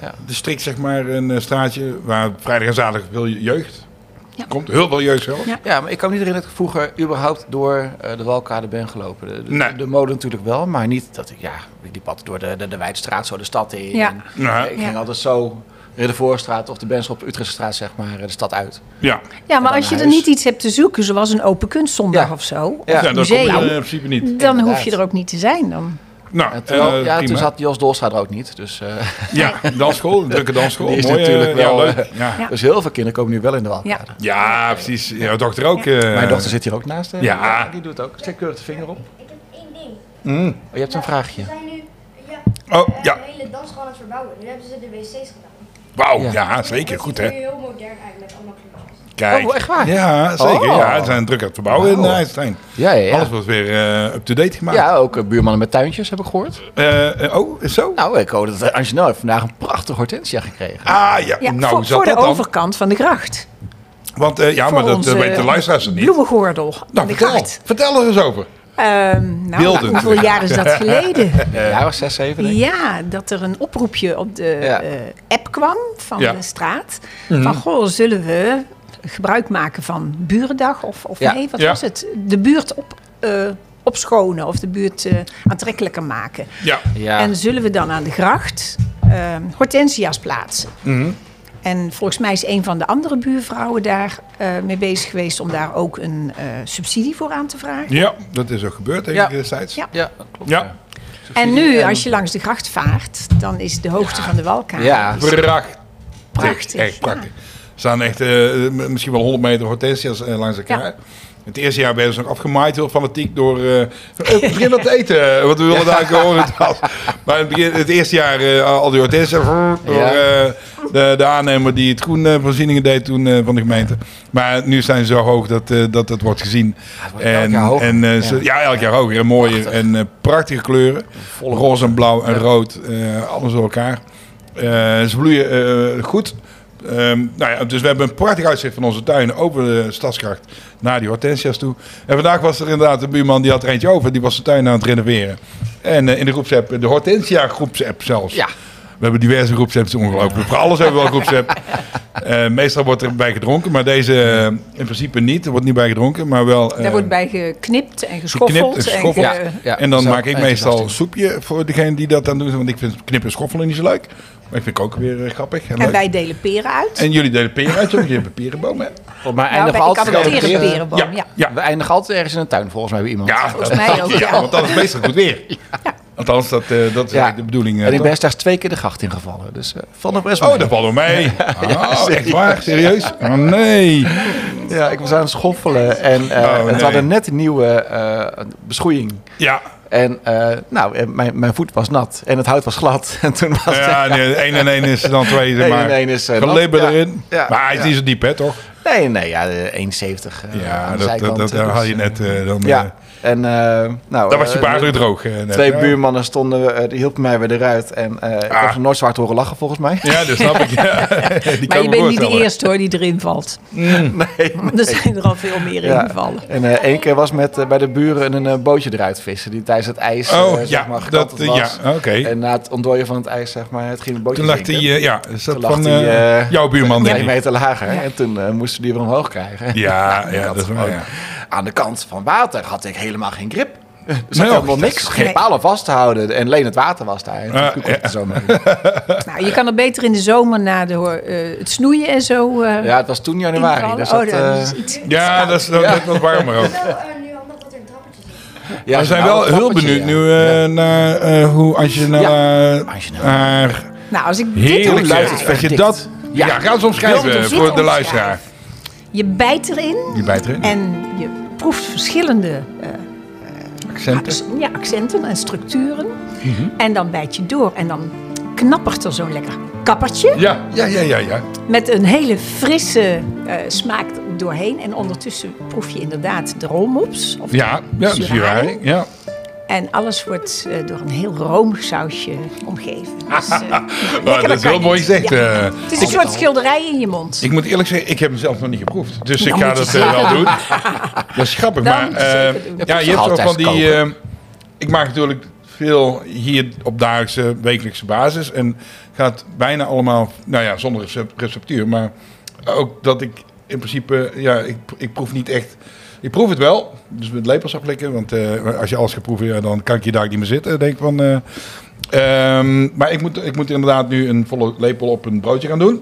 A: Ja.
B: district, zeg maar, een eh, straatje waar vrijdag en zaterdag veel jeugd
C: Ja.
B: komt. Heel veel jeugd zelf.
C: Ja.
A: Ja, maar ik kan me niet herinneren dat ik vroeger überhaupt door eh, de Walkade ben gelopen. De, de,
B: Nee.
A: de mode natuurlijk wel, maar niet dat ik, ja, ik liep altijd door de, de, de Wijdstraat, zo de stad in.
C: Ja.
A: En
B: Ja.
A: Ik ging
C: Ja.
A: altijd zo Riddervoorstraat of de Benschop Utrechtstraat, zeg maar, eh, de stad uit.
B: Ja,
C: Ja, maar
A: dan
C: als je er
A: huis.
C: niet iets hebt te zoeken, zoals een open kunstzondag
A: Ja.
C: of zo, of
A: Ja,
B: ja,
C: een
B: dat kom je
C: museum,
B: eh, in principe niet.
C: dan hoef je
A: Inderdaad.
C: er ook niet te zijn dan.
B: Nou,
A: En terwijl-
B: eh,
A: ja,
B: prima.
A: toen zat Jos Dolstra er ook niet. Dus, eh,
B: Ja, dansschool, drukke dansschool.
A: Die is
B: Mooi, eh,
A: natuurlijk
B: ja,
A: wel,
B: leuk.
A: eh,
B: Ja.
C: Ja.
A: dus heel veel kinderen komen nu wel in de Walkade.
B: Ja, precies. Jouw dochter ook. eh,
A: Mijn dochter zit hier ook naast. eh. hè?
B: Ja.
A: Die doet ook. Steek keurig de vinger op.
D: Ik heb één ding.
A: Oh, je hebt een
D: Ze
A: vraagje.
D: zijn nu ja,
B: Oh, ja.
D: de hele dansschool aan het verbouwen. Nu hebben ze de wc's gedaan.
B: Wauw, ja.
A: Ja.
B: zeker. Goed,
D: Het is
B: hè?
D: nu heel modern eigenlijk met allemaal kleurtjes.
B: Kijk.
A: Oh, echt waar?
B: Ja, zeker.
A: Oh.
B: Ja, ze zijn druk aan het verbouwen in
A: Wauw.
B: IJsselstein.
A: Ja, ja, ja.
B: Alles wordt weer eh, up-to-date gemaakt.
A: Ja, ook eh, buurmannen met tuintjes heb ik gehoord.
B: Eh, eh, oh, is zo?
A: Nou, ik hoorde dat eh, Angelo heeft vandaag een prachtige hortensia gekregen.
B: Ah, ja.
C: Ja,
B: nou,
C: voor,
B: zat
C: voor de
B: dat dan?
C: overkant van de gracht.
B: Want eh, ja, maar
C: Voor
B: dat eh,
C: onze
B: weten de luisteraars niet.
C: Bloemengordel.
B: Nou,
C: de
B: vertel.
C: gracht.
B: Vertel er eens over.
C: Ehm, nou,
B: Beelden.
C: maar hoeveel jaar is dat geleden?
A: Ja, jaar was 6, 7 denk ik.
C: Ja, dat er een oproepje op de
A: Ja.
C: eh, app kwam van
B: Ja. Mhm.
C: de straat. Van, goh, zullen we gebruik maken van Burendag? Of, of
A: Ja.
C: nee, wat
B: Ja.
C: was het? De buurt op, eh, opschonen of de buurt eh, aantrekkelijker maken.
B: Ja.
A: Ja.
C: En zullen we dan aan de gracht eh, hortensia's plaatsen?
A: Mhm.
C: En volgens mij is een van de andere buurvrouwen daar eh, mee bezig geweest... om daar ook een eh, subsidie voor aan te vragen.
B: ja, dat is ook gebeurd denk
A: Ja.
B: ik destijds.
C: Ja.
A: Ja, klopt.
B: Ja.
C: En nu, als je langs de gracht vaart, dan is de hoogte van de walkaart
A: Ja.
B: Prachtig.
C: prachtig.
B: Echt prachtig. Er staan echt eh, m- misschien wel 100 meter hortensia's eh, langs elkaar. Het eerste jaar werden ze nog afgemaaid, heel fanatiek, door... eh, eh, begin dat te eten, eh, want we wilden eigenlijk horen dat. Maar in het, begin, het eerste jaar eh, al die hortensia's vrr, door
A: Ja.
B: eh, de, de aannemer die het groenvoorzieningen deed toen eh, van de gemeente. Maar nu zijn ze zo hoog dat eh, dat, het wordt gezien.
A: wordt elk jaar hoger.
B: en, eh, ze-
A: Ja.
B: ja. elk jaar hoger en mooier. En eh, prachtige kleuren. Roze en blauw en rood. eh, alles door elkaar. Eh, ze bloeien eh, goed. Ehm, nou ja, dus we hebben een prachtig uitzicht van onze tuin over de stadskracht eh, naar die hortensia's toe. En vandaag was er inderdaad een buurman die had er eentje over. Die was zijn tuin aan het renoveren. En eh, in de groepsapp, de hortensia groepsapp zelfs.
A: Ja.
B: We hebben diverse groepsapps, ongelooflijk. Voor alles hebben we wel een groepsapp. Eh, meestal wordt er bij gedronken, maar deze eh, in principe niet. Er wordt niet bij gedronken, maar wel...
C: Daar
B: eh,
C: wordt bij geknipt en geschoffeld.
B: geknipt en geschoffeld.
C: En ge-
A: Ja. Ja,
B: en dan
A: zo
B: maak ik meestal een
A: enthousiast.
B: soepje voor degene die dat dan doen. Want ik vind knippen en schoffelen niet zo leuk. Maar ik vind ook weer eh, grappig. En,
C: En
B: leuk.
C: wij delen peren uit.
B: en jullie delen peren uit, want jullie hebben perenbomen. hè?
A: Volgens mij
C: nou,
A: eindigen
C: wij-
A: we
C: ik
A: altijd
C: adopteer een
A: ergens-
C: perenboom. Ja. Ja.
B: Ja.
A: We eindigen altijd ergens in een tuin, volgens mij bij iemand.
B: Ja,
C: Volgens mij ook, ja.
B: want dat is meestal goed weer. Althans, dat, eh, dat is
A: Ja.
B: eigenlijk de bedoeling. eh,
A: en ik
B: toch?
A: ben straks twee keer de gracht ingevallen. Dus eh valt nog best wel
B: Oh,
A: mee.
B: dat valt wel mee. oh, echt waar? Serieus? Oh, nee.
A: Ja, ik was aan het schoffelen. En eh
B: Oh, nee.
A: het hadden net een nieuwe eh, beschoeiing.
B: Ja.
A: En eh, nou, eh, mijn, mijn voet was nat. En het hout was glad. En toen was het...
B: Ja, 1 en 1 is dan 2, zeg
A: Eén
B: maar.
A: en één is, eh,
B: Gelibber
A: nat. Ja.
B: erin.
A: Ja.
B: Maar hij is
A: Ja.
B: niet zo diep, hè, toch?
A: Nee, nee, ja, de 1,70 eh, aan
B: Ja,
A: de
B: dat, dat,
A: zijkant.
B: dat,
A: Dus,
B: haal je
A: eh,
B: net eh, dan... eh,
A: Ja, en eh, nou...
B: Dan was je
A: eh,
B: paardelijk droog. eh, net.
A: Twee
B: Ja.
A: buurmannen stonden, eh, die hielpen mij weer eruit. En eh, ik
B: Ah.
A: heb ze nooit zwart horen lachen, volgens mij.
B: Ja, dat snap ik. Ja. Die
C: Maar
B: kan me
C: je bent niet de
B: voorstellen.
C: eerste hoor die erin valt.
A: Nee.
C: Er zijn er al veel meer in gevallen.
A: En eh, één keer was met eh, bij de buren een eh, bootje eruit vissen die tijdens het ijs eh,
B: Oh,
A: zeg
B: ja,
A: maar, gekanteld
B: dat,
A: was.
B: ja, oh, oké.
A: En na het ontdooien van het ijs, zeg maar, het ging een bootje
B: Toen lag
A: zinken.
B: die, eh, ja, is dat
A: Toen lag
B: van
A: die,
B: eh,
A: eh,
B: jouw buurman,
A: twee
B: denk ik.
A: meter lager. En toen eh, moesten die weer omhoog krijgen.
B: Ja, ja,
A: had
B: dat is waar,
A: gewoon-
B: ja.
A: Aan de kant van water had ik helemaal geen grip. Er zat
B: Nee,
A: helemaal
B: dat is
A: niks.
B: gek.
A: Geen palen vast te houden. En alleen het water was daar. En toen
B: Ah,
A: koekelde het
B: ja.
A: er zo mee.
C: Nou, je kan er beter in de zomer na de, hoor- eh, het snoeien en zo. eh,
A: Ja, het was toen januari.
C: invallen.
A: Dus dat,
C: oh, dat
A: eh,
C: is iets.
B: Ja, dat is dat, dat wat warmer ook.
D: Wel eh, nu handig dat er een trappetje zit.
A: ja,
B: We zijn
A: nou,
B: wel
A: het
B: heel
A: trappetje,
B: benieuwd
A: ja.
B: nu eh, naar eh, hoe Angela
A: Angela.
B: haar
C: Nou, als ik dit
B: heerlijk
C: hoor-
A: luistert
B: zegt. Als je
A: verdikt.
B: dat...
A: Ja.
B: Ja, ga eens
C: Wil het
B: omschrijven
C: ons
B: voor
C: niet
B: de
C: omschrijven?
B: luisteraar.
C: Je bijt erin
B: Die bijt erin.
C: en je proeft verschillende eh,
B: Accenten.
C: ja, accenten en structuren.
B: Mhm.
C: En dan bijt je door en dan knappert er zo'n lekker kappertje.
B: Ja, ja, ja, ja, ja.
C: Met een hele frisse eh, smaak doorheen. En ondertussen proef je inderdaad de roommops. Of
B: Ja,
C: de
B: ja, de
C: suraring.
B: suraring, Ja.
C: En alles wordt eh, door een heel romig sausje omgeven. Dus, eh, lekkerder
B: Ah, dat is
C: kan
B: heel
C: je
B: mooi
C: niet.
B: gezegd, eh.
C: het is een soort schilderij in je mond.
B: Ik moet eerlijk zeggen, ik heb hem zelf nog niet geproefd. Dus ik
C: Dan
B: ga
C: moet je
B: dat
C: het
B: eh, wel
C: zeker
B: doen. Dat is grappig,
C: Dan
B: maar...
C: moet je het
B: eh,
C: zeker doen.
B: ja, je
A: Toch
B: hebt zo van
A: altijd
B: die...
A: koken.
B: eh, ik maak natuurlijk veel hier op dagelijkse, wekelijkse basis. En gaat bijna allemaal, nou ja, zonder recept- receptuur. Maar ook dat ik in principe... Ja, ik, ik proef niet echt Ik proef het wel, dus met lepels aflikken. Want eh, als je alles gaat proeven, ja, dan kan ik je daar niet meer zitten. Denk ik van, eh. Ehm, maar ik moet, ik moet inderdaad nu een volle lepel op een broodje gaan doen.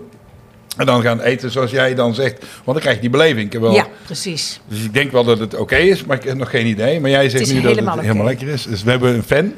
B: En dan gaan eten zoals jij dan zegt. Want dan krijg je die beleving. Ik heb wel,
C: Ja, precies.
B: Dus ik denk wel dat het oké is, maar ik heb nog geen idee. Maar jij zegt
C: is
B: nu dat het
C: helemaal oké.
B: helemaal lekker is. Dus we hebben een fan.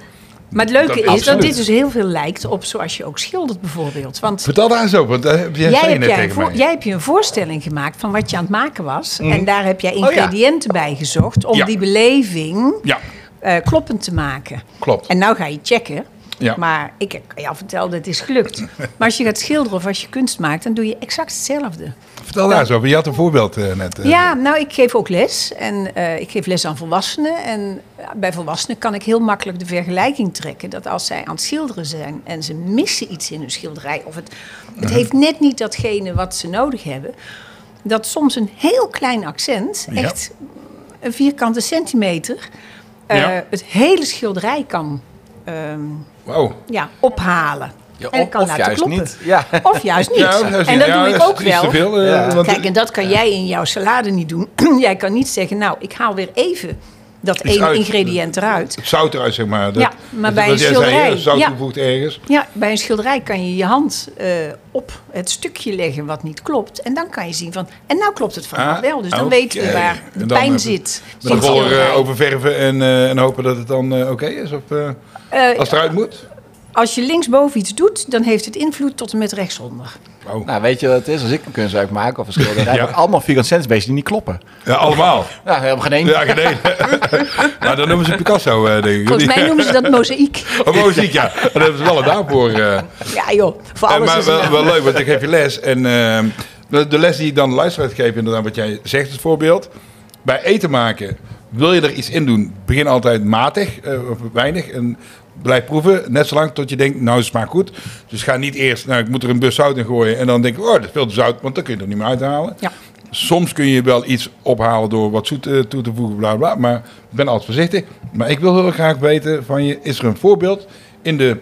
C: Maar het leuke
B: Dat-
C: is
B: absoluut.
C: dat dit dus heel veel lijkt op zoals je ook schildert bijvoorbeeld. Want
B: Vertel daar eens over, want daar heb jij,
C: jij,
B: zei je
C: hebt
B: net
C: jij, een
B: tegen
C: voor-
B: mij. Mhm.
C: jij hebt je een voorstelling gemaakt van wat je aan het maken was. En daar heb jij
B: Oh ja.
C: ingrediënten bij gezocht om
B: Ja.
C: die beleving
B: Ja,
C: eh, kloppend te maken.
B: klopt.
C: En nou ga je checken.
B: Ja.
C: Maar ik kan je al vertellen, het is gelukt. Maar als je gaat schilderen of als je kunst maakt, dan doe je exact hetzelfde.
B: Vertel daar eens over. Je had een voorbeeld eh, net. eh.
C: Ja, nou, ik geef ook les. En eh, ik geef les aan volwassenen. En eh, bij volwassenen kan ik heel makkelijk de vergelijking trekken... dat als zij aan het schilderen zijn en ze missen iets in hun schilderij... of het, het heeft net niet datgene wat ze nodig hebben... dat soms een heel klein accent,
B: Ja.
C: echt een vierkante centimeter... eh,
B: Ja.
C: het hele schilderij kan ehm,
B: Wauw.
C: ja, ophalen.
A: Ja,
C: En
A: of-
C: kan
A: of
C: laten
A: juist
C: kloppen.
A: niet. Ja.
C: Of juist niet.
B: Ja, nou,
C: en dat
B: ja,
C: doe ik
B: is-
C: ook
B: Is te
C: wel.
B: veel, eh,
A: Ja.
B: want-
C: Kijk, en dat kan jij in jouw salade niet doen. jij kan niet zeggen, nou, ik haal weer even dat
B: Iets
C: ene
B: uit.
C: ingrediënt eruit.
B: het zout eruit, zeg maar.
C: Ja, maar bij
B: wat jij
C: een
B: zei,
C: schilderij,
B: hè, Zout
C: ja.
B: toevoegt ergens.
C: Ja, bij een schilderij kan je je hand eh, op het stukje leggen wat niet klopt. En dan kan je zien van, en nou klopt het verhaal
B: Ah,
C: wel. Dus dan
B: oké.
C: weten we waar
B: En
C: de
B: dan
C: pijn
B: heb-
C: zit.
B: Met een
C: Zit
B: roller
C: schilderij.
B: eh, oververven en, eh, en hopen dat het dan eh, oké is? Of, eh,
C: Eh,
B: als het eruit moet?
C: als je linksboven iets doet, dan heeft het invloed tot en met rechtsonder.
B: Wauw.
A: Nou, weet je wat het is? Als ik een kunstwerk maak of een schilderij,
B: Ja.
A: heb ik allemaal vierkant centimeters die niet kloppen.
B: Ja, allemaal.
A: Nou, helemaal geen één.
B: Ja, nee. nou, dan noemen ze Picasso, eh, denk ik.
C: Volgens mij noemen ze dat mozaïek.
B: Oh, muziek, ja. Daar hebben ze wel een naam voor. eh.
C: Ja joh, voor
B: Eh,
C: alles
B: maar
C: is een
B: wel,
C: naam.
B: wel leuk, want ik geef je les. En ehm, de, de les die ik dan de luisteraar geef, inderdaad, wat jij zegt als voorbeeld. Bij eten maken, wil je er iets in doen, begin altijd matig, eh, of weinig. En blijf proeven, net zolang tot je denkt, nou, het smaakt goed. Dus ga niet eerst, nou, ik moet er een bus zout in gooien. En dan denk ik, oh, dat is veel te zout, want dan kun je er niet meer uithalen.
C: Ja.
B: Soms kun je wel iets ophalen door wat zoet eh, toe te voegen, bla bla. Maar ik ben altijd voorzichtig. Maar ik wil heel graag weten van je, is er een voorbeeld in de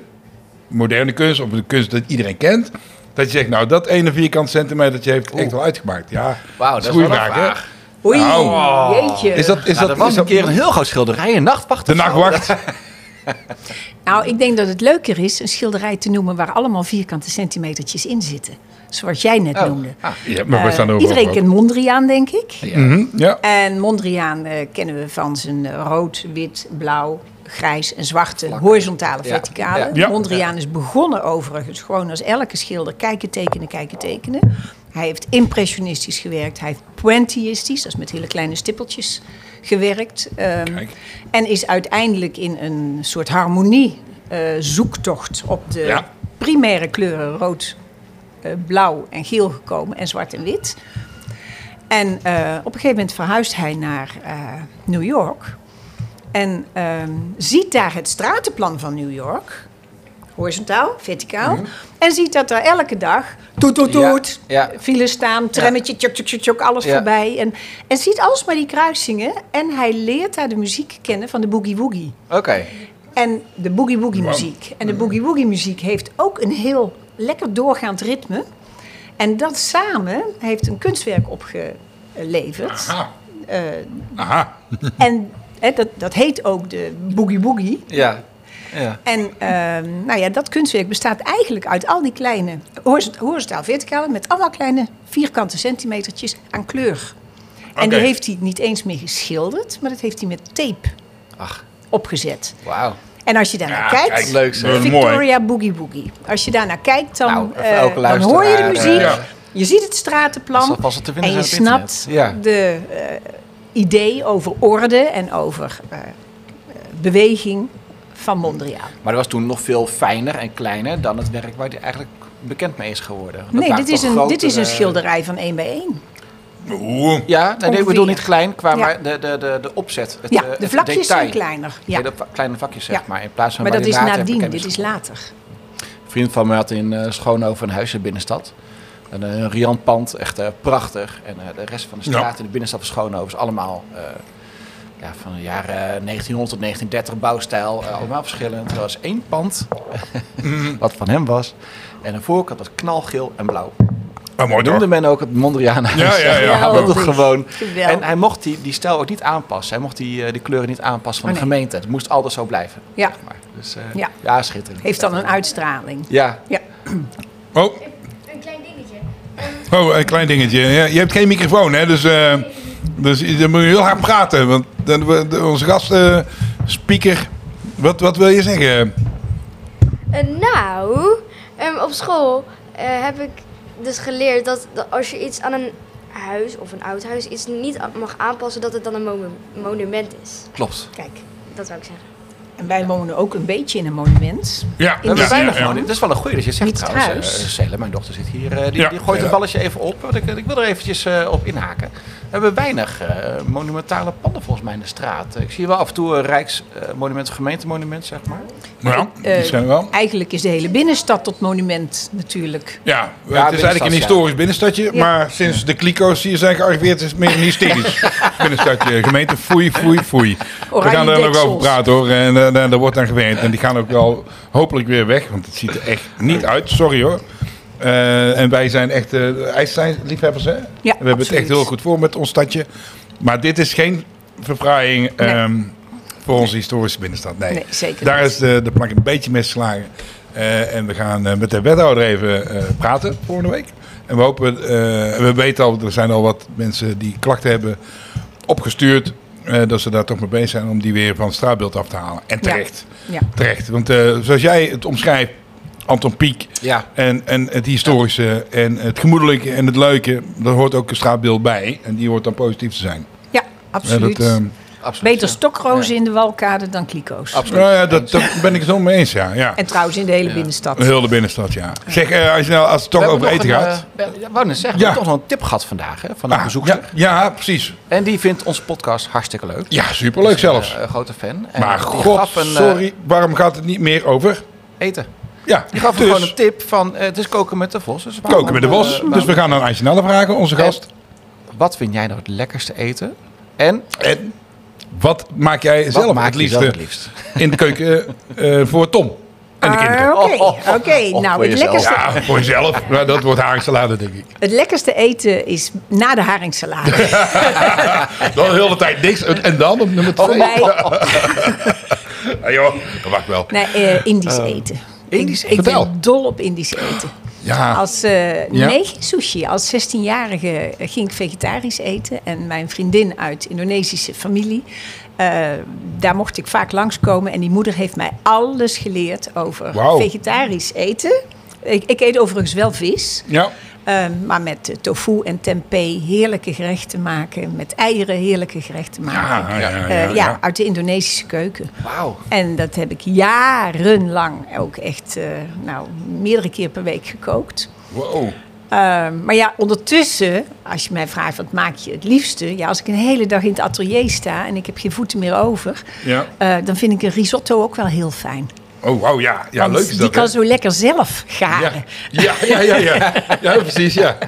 B: moderne kunst of de kunst dat iedereen kent? Dat je zegt, nou dat ene vierkant centimetertje heeft echt wel uitgemaakt. Ja,
A: Wauw, dat is
B: goede
A: wel een
B: hè?
A: vraag.
C: Oei,
B: Nou.
C: jeetje.
B: Is dat, is
A: Nou,
B: dat,
A: dat was
B: is
A: een
B: dat
A: keer een heel groot schilderij, een nachtwacht.
B: de
A: of zo.
B: nachtwacht?
C: Nou, ik denk dat het leuker is een schilderij te noemen waar allemaal vierkante centimetertjes in zitten. Zoals jij net
A: Oh,
C: noemde.
A: ah,
B: Ja, maar we
C: Eh,
B: staan er overal
C: iedereen
B: op.
C: kent Mondriaan, denk ik.
B: Mhm, ja.
C: En Mondriaan eh, kennen we van zijn eh, rood, wit, blauw, grijs en zwarte horizontale
A: Ja.
C: verticale.
A: Ja.
B: Ja.
C: Mondriaan is begonnen overigens gewoon als elke schilder kijken, tekenen, kijken, tekenen. Hij heeft impressionistisch gewerkt, hij heeft pointillistisch, dat is met hele kleine stippeltjes, gewerkt. Ehm,
B: Kijk.
C: en is uiteindelijk in een soort harmonie eh, zoektocht op de
B: Ja.
C: primaire kleuren rood, eh, blauw en geel gekomen en zwart en wit. En eh, op een gegeven moment verhuist hij naar eh, New York. En ehm, ziet daar het stratenplan van New York. Horizontaal, verticaal. En ziet dat er elke dag toet, toet,
A: Mhm. Ja,
C: toet.
A: ja.
C: Files staan, trammetje, tjok, tjok, tjok, tjok, alles
A: Ja.
C: voorbij. En, en ziet alsmaar die kruisingen. En hij leert daar de muziek kennen van de boogie woogie.
A: Oké.
C: En de boogie woogie muziek. En de
A: Mhm.
C: boogie woogie muziek heeft ook een heel lekker doorgaand ritme. En dat samen heeft een kunstwerk opgeleverd.
B: Aha.
C: Eh,
B: Aha.
C: en hè, dat, dat heet ook de boogie woogie.
A: Ja. ja.
C: En ehm, nou ja, dat kunstwerk bestaat eigenlijk uit al die kleine horizont- horizontaal verticale... met allemaal kleine vierkante centimetertjes aan kleur. En die
B: Oké.
C: heeft hij niet eens meer geschilderd... maar dat heeft hij met tape
A: Ach,
C: opgezet.
A: wauw.
C: En als je daarnaar
B: Ja,
C: kijkt...
B: kijk,
A: Leuk
B: dat is
A: zeg.
B: mooi.
C: Victoria Boogie Boogie. Als je daarnaar kijkt, dan,
A: Nou, voor
C: eh,
A: elke
C: dan hoor je de
A: luisteraar,
C: muziek,
B: eh,
C: je ziet het
A: Dat
C: stratenplan
A: zal vast wel te vinden
C: en je
A: zijn op
C: snapt
A: internet. Ja.
C: de eh, idee over orde en over eh, eh, beweging van Mondriaan.
A: Maar dat was toen nog veel fijner en kleiner dan het werk waar hij eigenlijk bekend mee is geworden. Dat
C: nee,
A: waren
C: dit is,
A: toch eh,
C: een, dit is een
A: grotere-
C: schilderij van één bij één.
B: Oeh.
A: Ja, nee, nee, ik bedoel
C: Ongeveer.
A: niet klein, qua
C: Ja.
A: maar de, de, de, de opzet. Het,
C: Ja,
A: eh,
C: de
A: het
C: vlakjes zijn
A: detail.
C: kleiner.
A: Ja.
C: Ja.
A: de va- kleine vakjes, zeg
C: Ja.
A: maar. In plaats van
C: Maar
A: waar
C: dat
A: die
C: is
A: later
C: nadien,
A: bekend
C: dit is later.
A: Een vriend van me had in eh, Schoonhoven een huis in de binnenstad. En, eh, een riant pand, echt eh, prachtig. En eh, de rest van de
B: Ja.
A: straat in de binnenstad van Schoonhoven is allemaal eh, ja, van de jaren 1900 tot 1930 bouwstijl. eh, allemaal verschillend. Er was één pand, wat van hem was. En de voorkant was knalgeel en blauw.
B: Maar Oh, mooi
A: noemde
B: toch?
A: men ook het Mondriaanhuis.
B: Ja, ja, ja.
A: dat het
C: Geweldig.
A: gewoon.
C: Geweldig.
A: En hij mocht die, die stijl ook niet aanpassen. Hij mocht die, eh, die kleuren niet aanpassen van
C: Oh,
A: de
C: nee.
A: gemeente. Het moest altijd zo blijven.
C: Ja.
A: zeg maar. Dus, eh, ja.
C: Ja.
A: schitterend.
C: Heeft dan een uitstraling.
A: Ja,
C: Ja,
B: Oh,
D: Een klein dingetje. Want
B: oh, een klein dingetje. Ja, je hebt geen microfoon, hè? Dus, eh, dus je- dan moet je heel hard praten. Want dan, we- de- onze gast, eh, speaker, wat, wat wil je zeggen?
E: Eh, nou, ehm, op school eh, heb ik dus geleerd dat, dat als je iets aan een huis of een oud huis iets niet a- mag aanpassen, dat het dan een monu- monument is.
A: klopt.
E: Kijk, dat zou ik zeggen.
C: en wij wonen ook een beetje in een monument.
B: Ja,
A: We
C: Ja,
A: hebben
C: ja,
A: weinig van. Dit is wel een goeie dat je zegt
C: Niet
A: trouwens. eh,
C: thuis.
A: eh, Celle, mijn dochter zit hier. eh, die,
B: Ja.
A: die gooit
B: Ja.
A: het balletje even op. Want ik, ik wil er eventjes eh, op inhaken. We hebben weinig eh, monumentale panden volgens mij in de straat. ik zie wel af en toe een Rijksmonument, gemeentemonument zeg maar.
B: Ja,
C: Eh,
B: die zijn er wel.
C: Eigenlijk is de hele binnenstad tot monument natuurlijk.
B: Ja, het is
A: binnenstad,
B: eigenlijk een
A: ja.
B: historisch binnenstadje, maar sinds de kliko's hier zijn gearriveerd is het meer een hysterisch binnenstadje. Gemeente foei, foei, foei. We
C: Oranje
B: gaan daar nog
C: deksels.
B: over praten hoor, en eh, daar daar wordt aan gewerkt. En die gaan ook wel hopelijk weer weg, want het ziet er echt niet uit, sorry hoor. Eh, en wij zijn echt uh, ijsliefhebbers hè? we hebben het
C: absoluut.
B: echt heel goed voor met ons stadje. Maar dit is geen verfraaiing ehm, voor onze historische binnenstad, nee.
C: Nee, zeker
B: Daar
C: niet.
B: is de, de plank een beetje mee geslagen. Eh, en we gaan eh, met de wethouder even eh, praten volgende week. En we hopen, eh, we weten al, er zijn al wat mensen die klachten hebben opgestuurd. eh, dat ze daar toch mee bezig zijn om die weer van het straatbeeld af te halen. En terecht.
C: Ja.
B: Terecht. Want eh, zoals jij het omschrijft, Anton Pieck.
A: Ja.
B: En, en het historische en het gemoedelijke en het leuke. Daar hoort ook een straatbeeld bij. En die hoort dan positief te zijn.
C: Ja,
B: Ja,
C: absoluut.
B: dat, ehm,
A: Absoluut.
C: Beter
A: ja.
C: stokrozen in de walkade dan kliko's.
A: Absoluut.
B: nou ja, dat, dat ben ik het zo mee eens. Ja. Ja.
C: En trouwens in de hele binnenstad.
B: Heel de binnenstad, ja. Zeg, eh, als, je nou, als het toch
A: We
B: over eten
A: hebben nog een,
B: gaat.
A: eh, ja, wou net zeggen,
B: Ja.
A: we hebben toch nog een tip gehad vandaag hè, van een
B: Ah,
A: bezoekster.
B: ja, ja, precies.
A: En die vindt onze podcast hartstikke leuk.
B: Ja, superleuk zelfs.
A: Eh, een grote fan. En
B: maar
A: die
B: god,
A: gaf een, eh,
B: sorry, waarom gaat het niet meer over?
A: eten.
B: Ja,
A: Die gaf
B: dus,
A: gewoon een tip van, eh, het is koken met de vos. Dus waarom-
B: koken met de bos.
A: eh, waarom-
B: dus we gaan aan Anjanelle vragen, onze gast.
A: Wat vind jij nou het lekkerste eten? En
B: En wat maak jij zelf
A: wat maak
B: het
A: je
B: liefste
A: zelf het liefst?
B: in de keuken eh, voor Tom en de kinderen?
C: Ah, Oké,
A: Oh, oh, oh,
C: oké.
A: oh, voor
C: nou, het
A: jezelf.
C: lekkerste,
B: Ja, voor jezelf. Nou, dat wordt haringsalade, denk ik.
C: het lekkerste eten is na de haringsalade.
B: Dan heel de tijd niks. En dan op nummer
C: Voor
A: Oh,
B: twee?
C: mij
B: Ja, joh, dat mag wel.
C: nee, eh, Indisch eten.
A: Oh. Indisch
C: Ik, ik
B: Vertel.
C: ben dol op Indisch eten.
B: Ja,
C: Als, eh,
B: Ah. Ja.
C: Nee, geen sushi. Als 16-jarige ging ik vegetarisch eten. En mijn vriendin uit Indonesische familie, eh, daar mocht ik vaak langskomen. En die moeder heeft mij alles geleerd over
B: Wauw.
C: vegetarisch eten. Ik, ik eet overigens wel vis.
B: ja.
C: Ehm, maar met eh, tofu en tempeh heerlijke gerechten maken. Met eieren heerlijke gerechten maken.
B: Ja, ja, ja,
C: Eh,
B: ja,
C: ja,
B: ja.
C: uit de Indonesische keuken.
A: Wauw.
C: En dat heb ik jarenlang ook echt eh, nou, meerdere keer per week gekookt.
B: Wow.
C: Ehm, maar ja, ondertussen, als je mij vraagt wat maak je het liefste. Ja, als ik een hele dag in het atelier sta en ik heb geen voeten meer over.
B: Ja.
C: eh, dan vind ik een risotto ook wel heel fijn.
B: Oh, wauw, ja. Ja,
C: Want
B: leuk is dat,
C: die
B: hè?
C: kan zo lekker zelf garen.
B: Ja, ja, ja, ja, ja. ja precies, ja.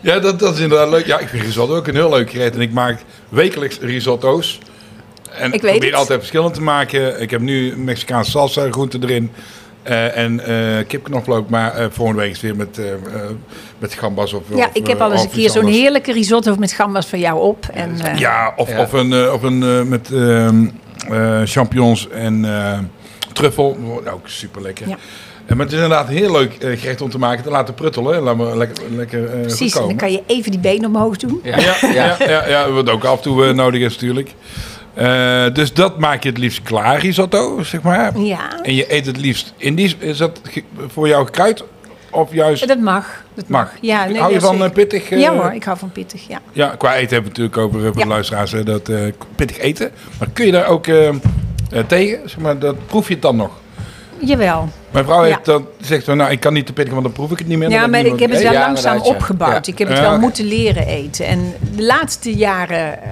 B: Ja, dat, dat is inderdaad leuk. Ja, ik vind risotto ook een heel leuk gerecht. En ik maak wekelijks risotto's. En
C: Ik weet
B: probeer
C: het.
B: altijd verschillend te maken. Ik heb nu Mexicaanse salsa groente erin. eh, en eh kipknoflook. Maar eh, volgende week is het weer met, eh eh, met gambas of
C: Ja,
B: of,
C: ik heb
B: eh,
C: al eens
B: of
C: een
B: iets
C: keer zo'n
B: anders.
C: heerlijke risotto met gambas van jou op. En, eh,
B: Ja, of,
A: Ja.
B: of een, eh, of een eh, met ehm, eh, champignons en eh, truffel. Wordt Ook super lekker.
C: Ja.
B: Maar het is inderdaad een heel leuk eh, gerecht om te maken. Te laten pruttelen. Laat maar lekker, lekker eh
C: precies.
B: goed
C: En
B: komen.
C: dan kan je even die benen omhoog doen.
A: Ja.
B: Ja, ja, ja, ja, wat ook af en toe eh, nodig is natuurlijk. Eh, dus dat maak je het liefst klaar, risotto, zeg maar.
C: Ja,
B: En je eet het liefst Indisch. Is dat ge- voor jou gekruid of juist
C: dat mag. Dat
B: mag?
C: Ja, nee,
B: Hou je
C: ja,
B: van eh,
C: zeker.
B: pittig? eh,
C: Ja hoor, ik hou van pittig. Ja.
B: Ja, qua eten hebben we het natuurlijk over eh, voor
C: Ja.
B: de luisteraars eh, dat eh, pittig eten. Maar kun je daar ook eh, eh, tegen? Zeg maar, dat proef je het dan nog.
C: Jawel.
B: Mijn vrouw
C: Ja.
B: heeft dan, zegt van, nou, ik kan niet te pittig, want dan proef ik het niet meer.
C: Ja,
B: Dan
C: maar
B: niet
C: ik
B: meer
C: heb
B: wat
C: het
B: ik
C: wel
A: Ja,
C: langzaam
A: inderdaad, ja.
C: opgebouwd. Ik heb het
B: Ja,
C: wel
B: oké.
C: moeten leren eten. En de laatste jaren eh,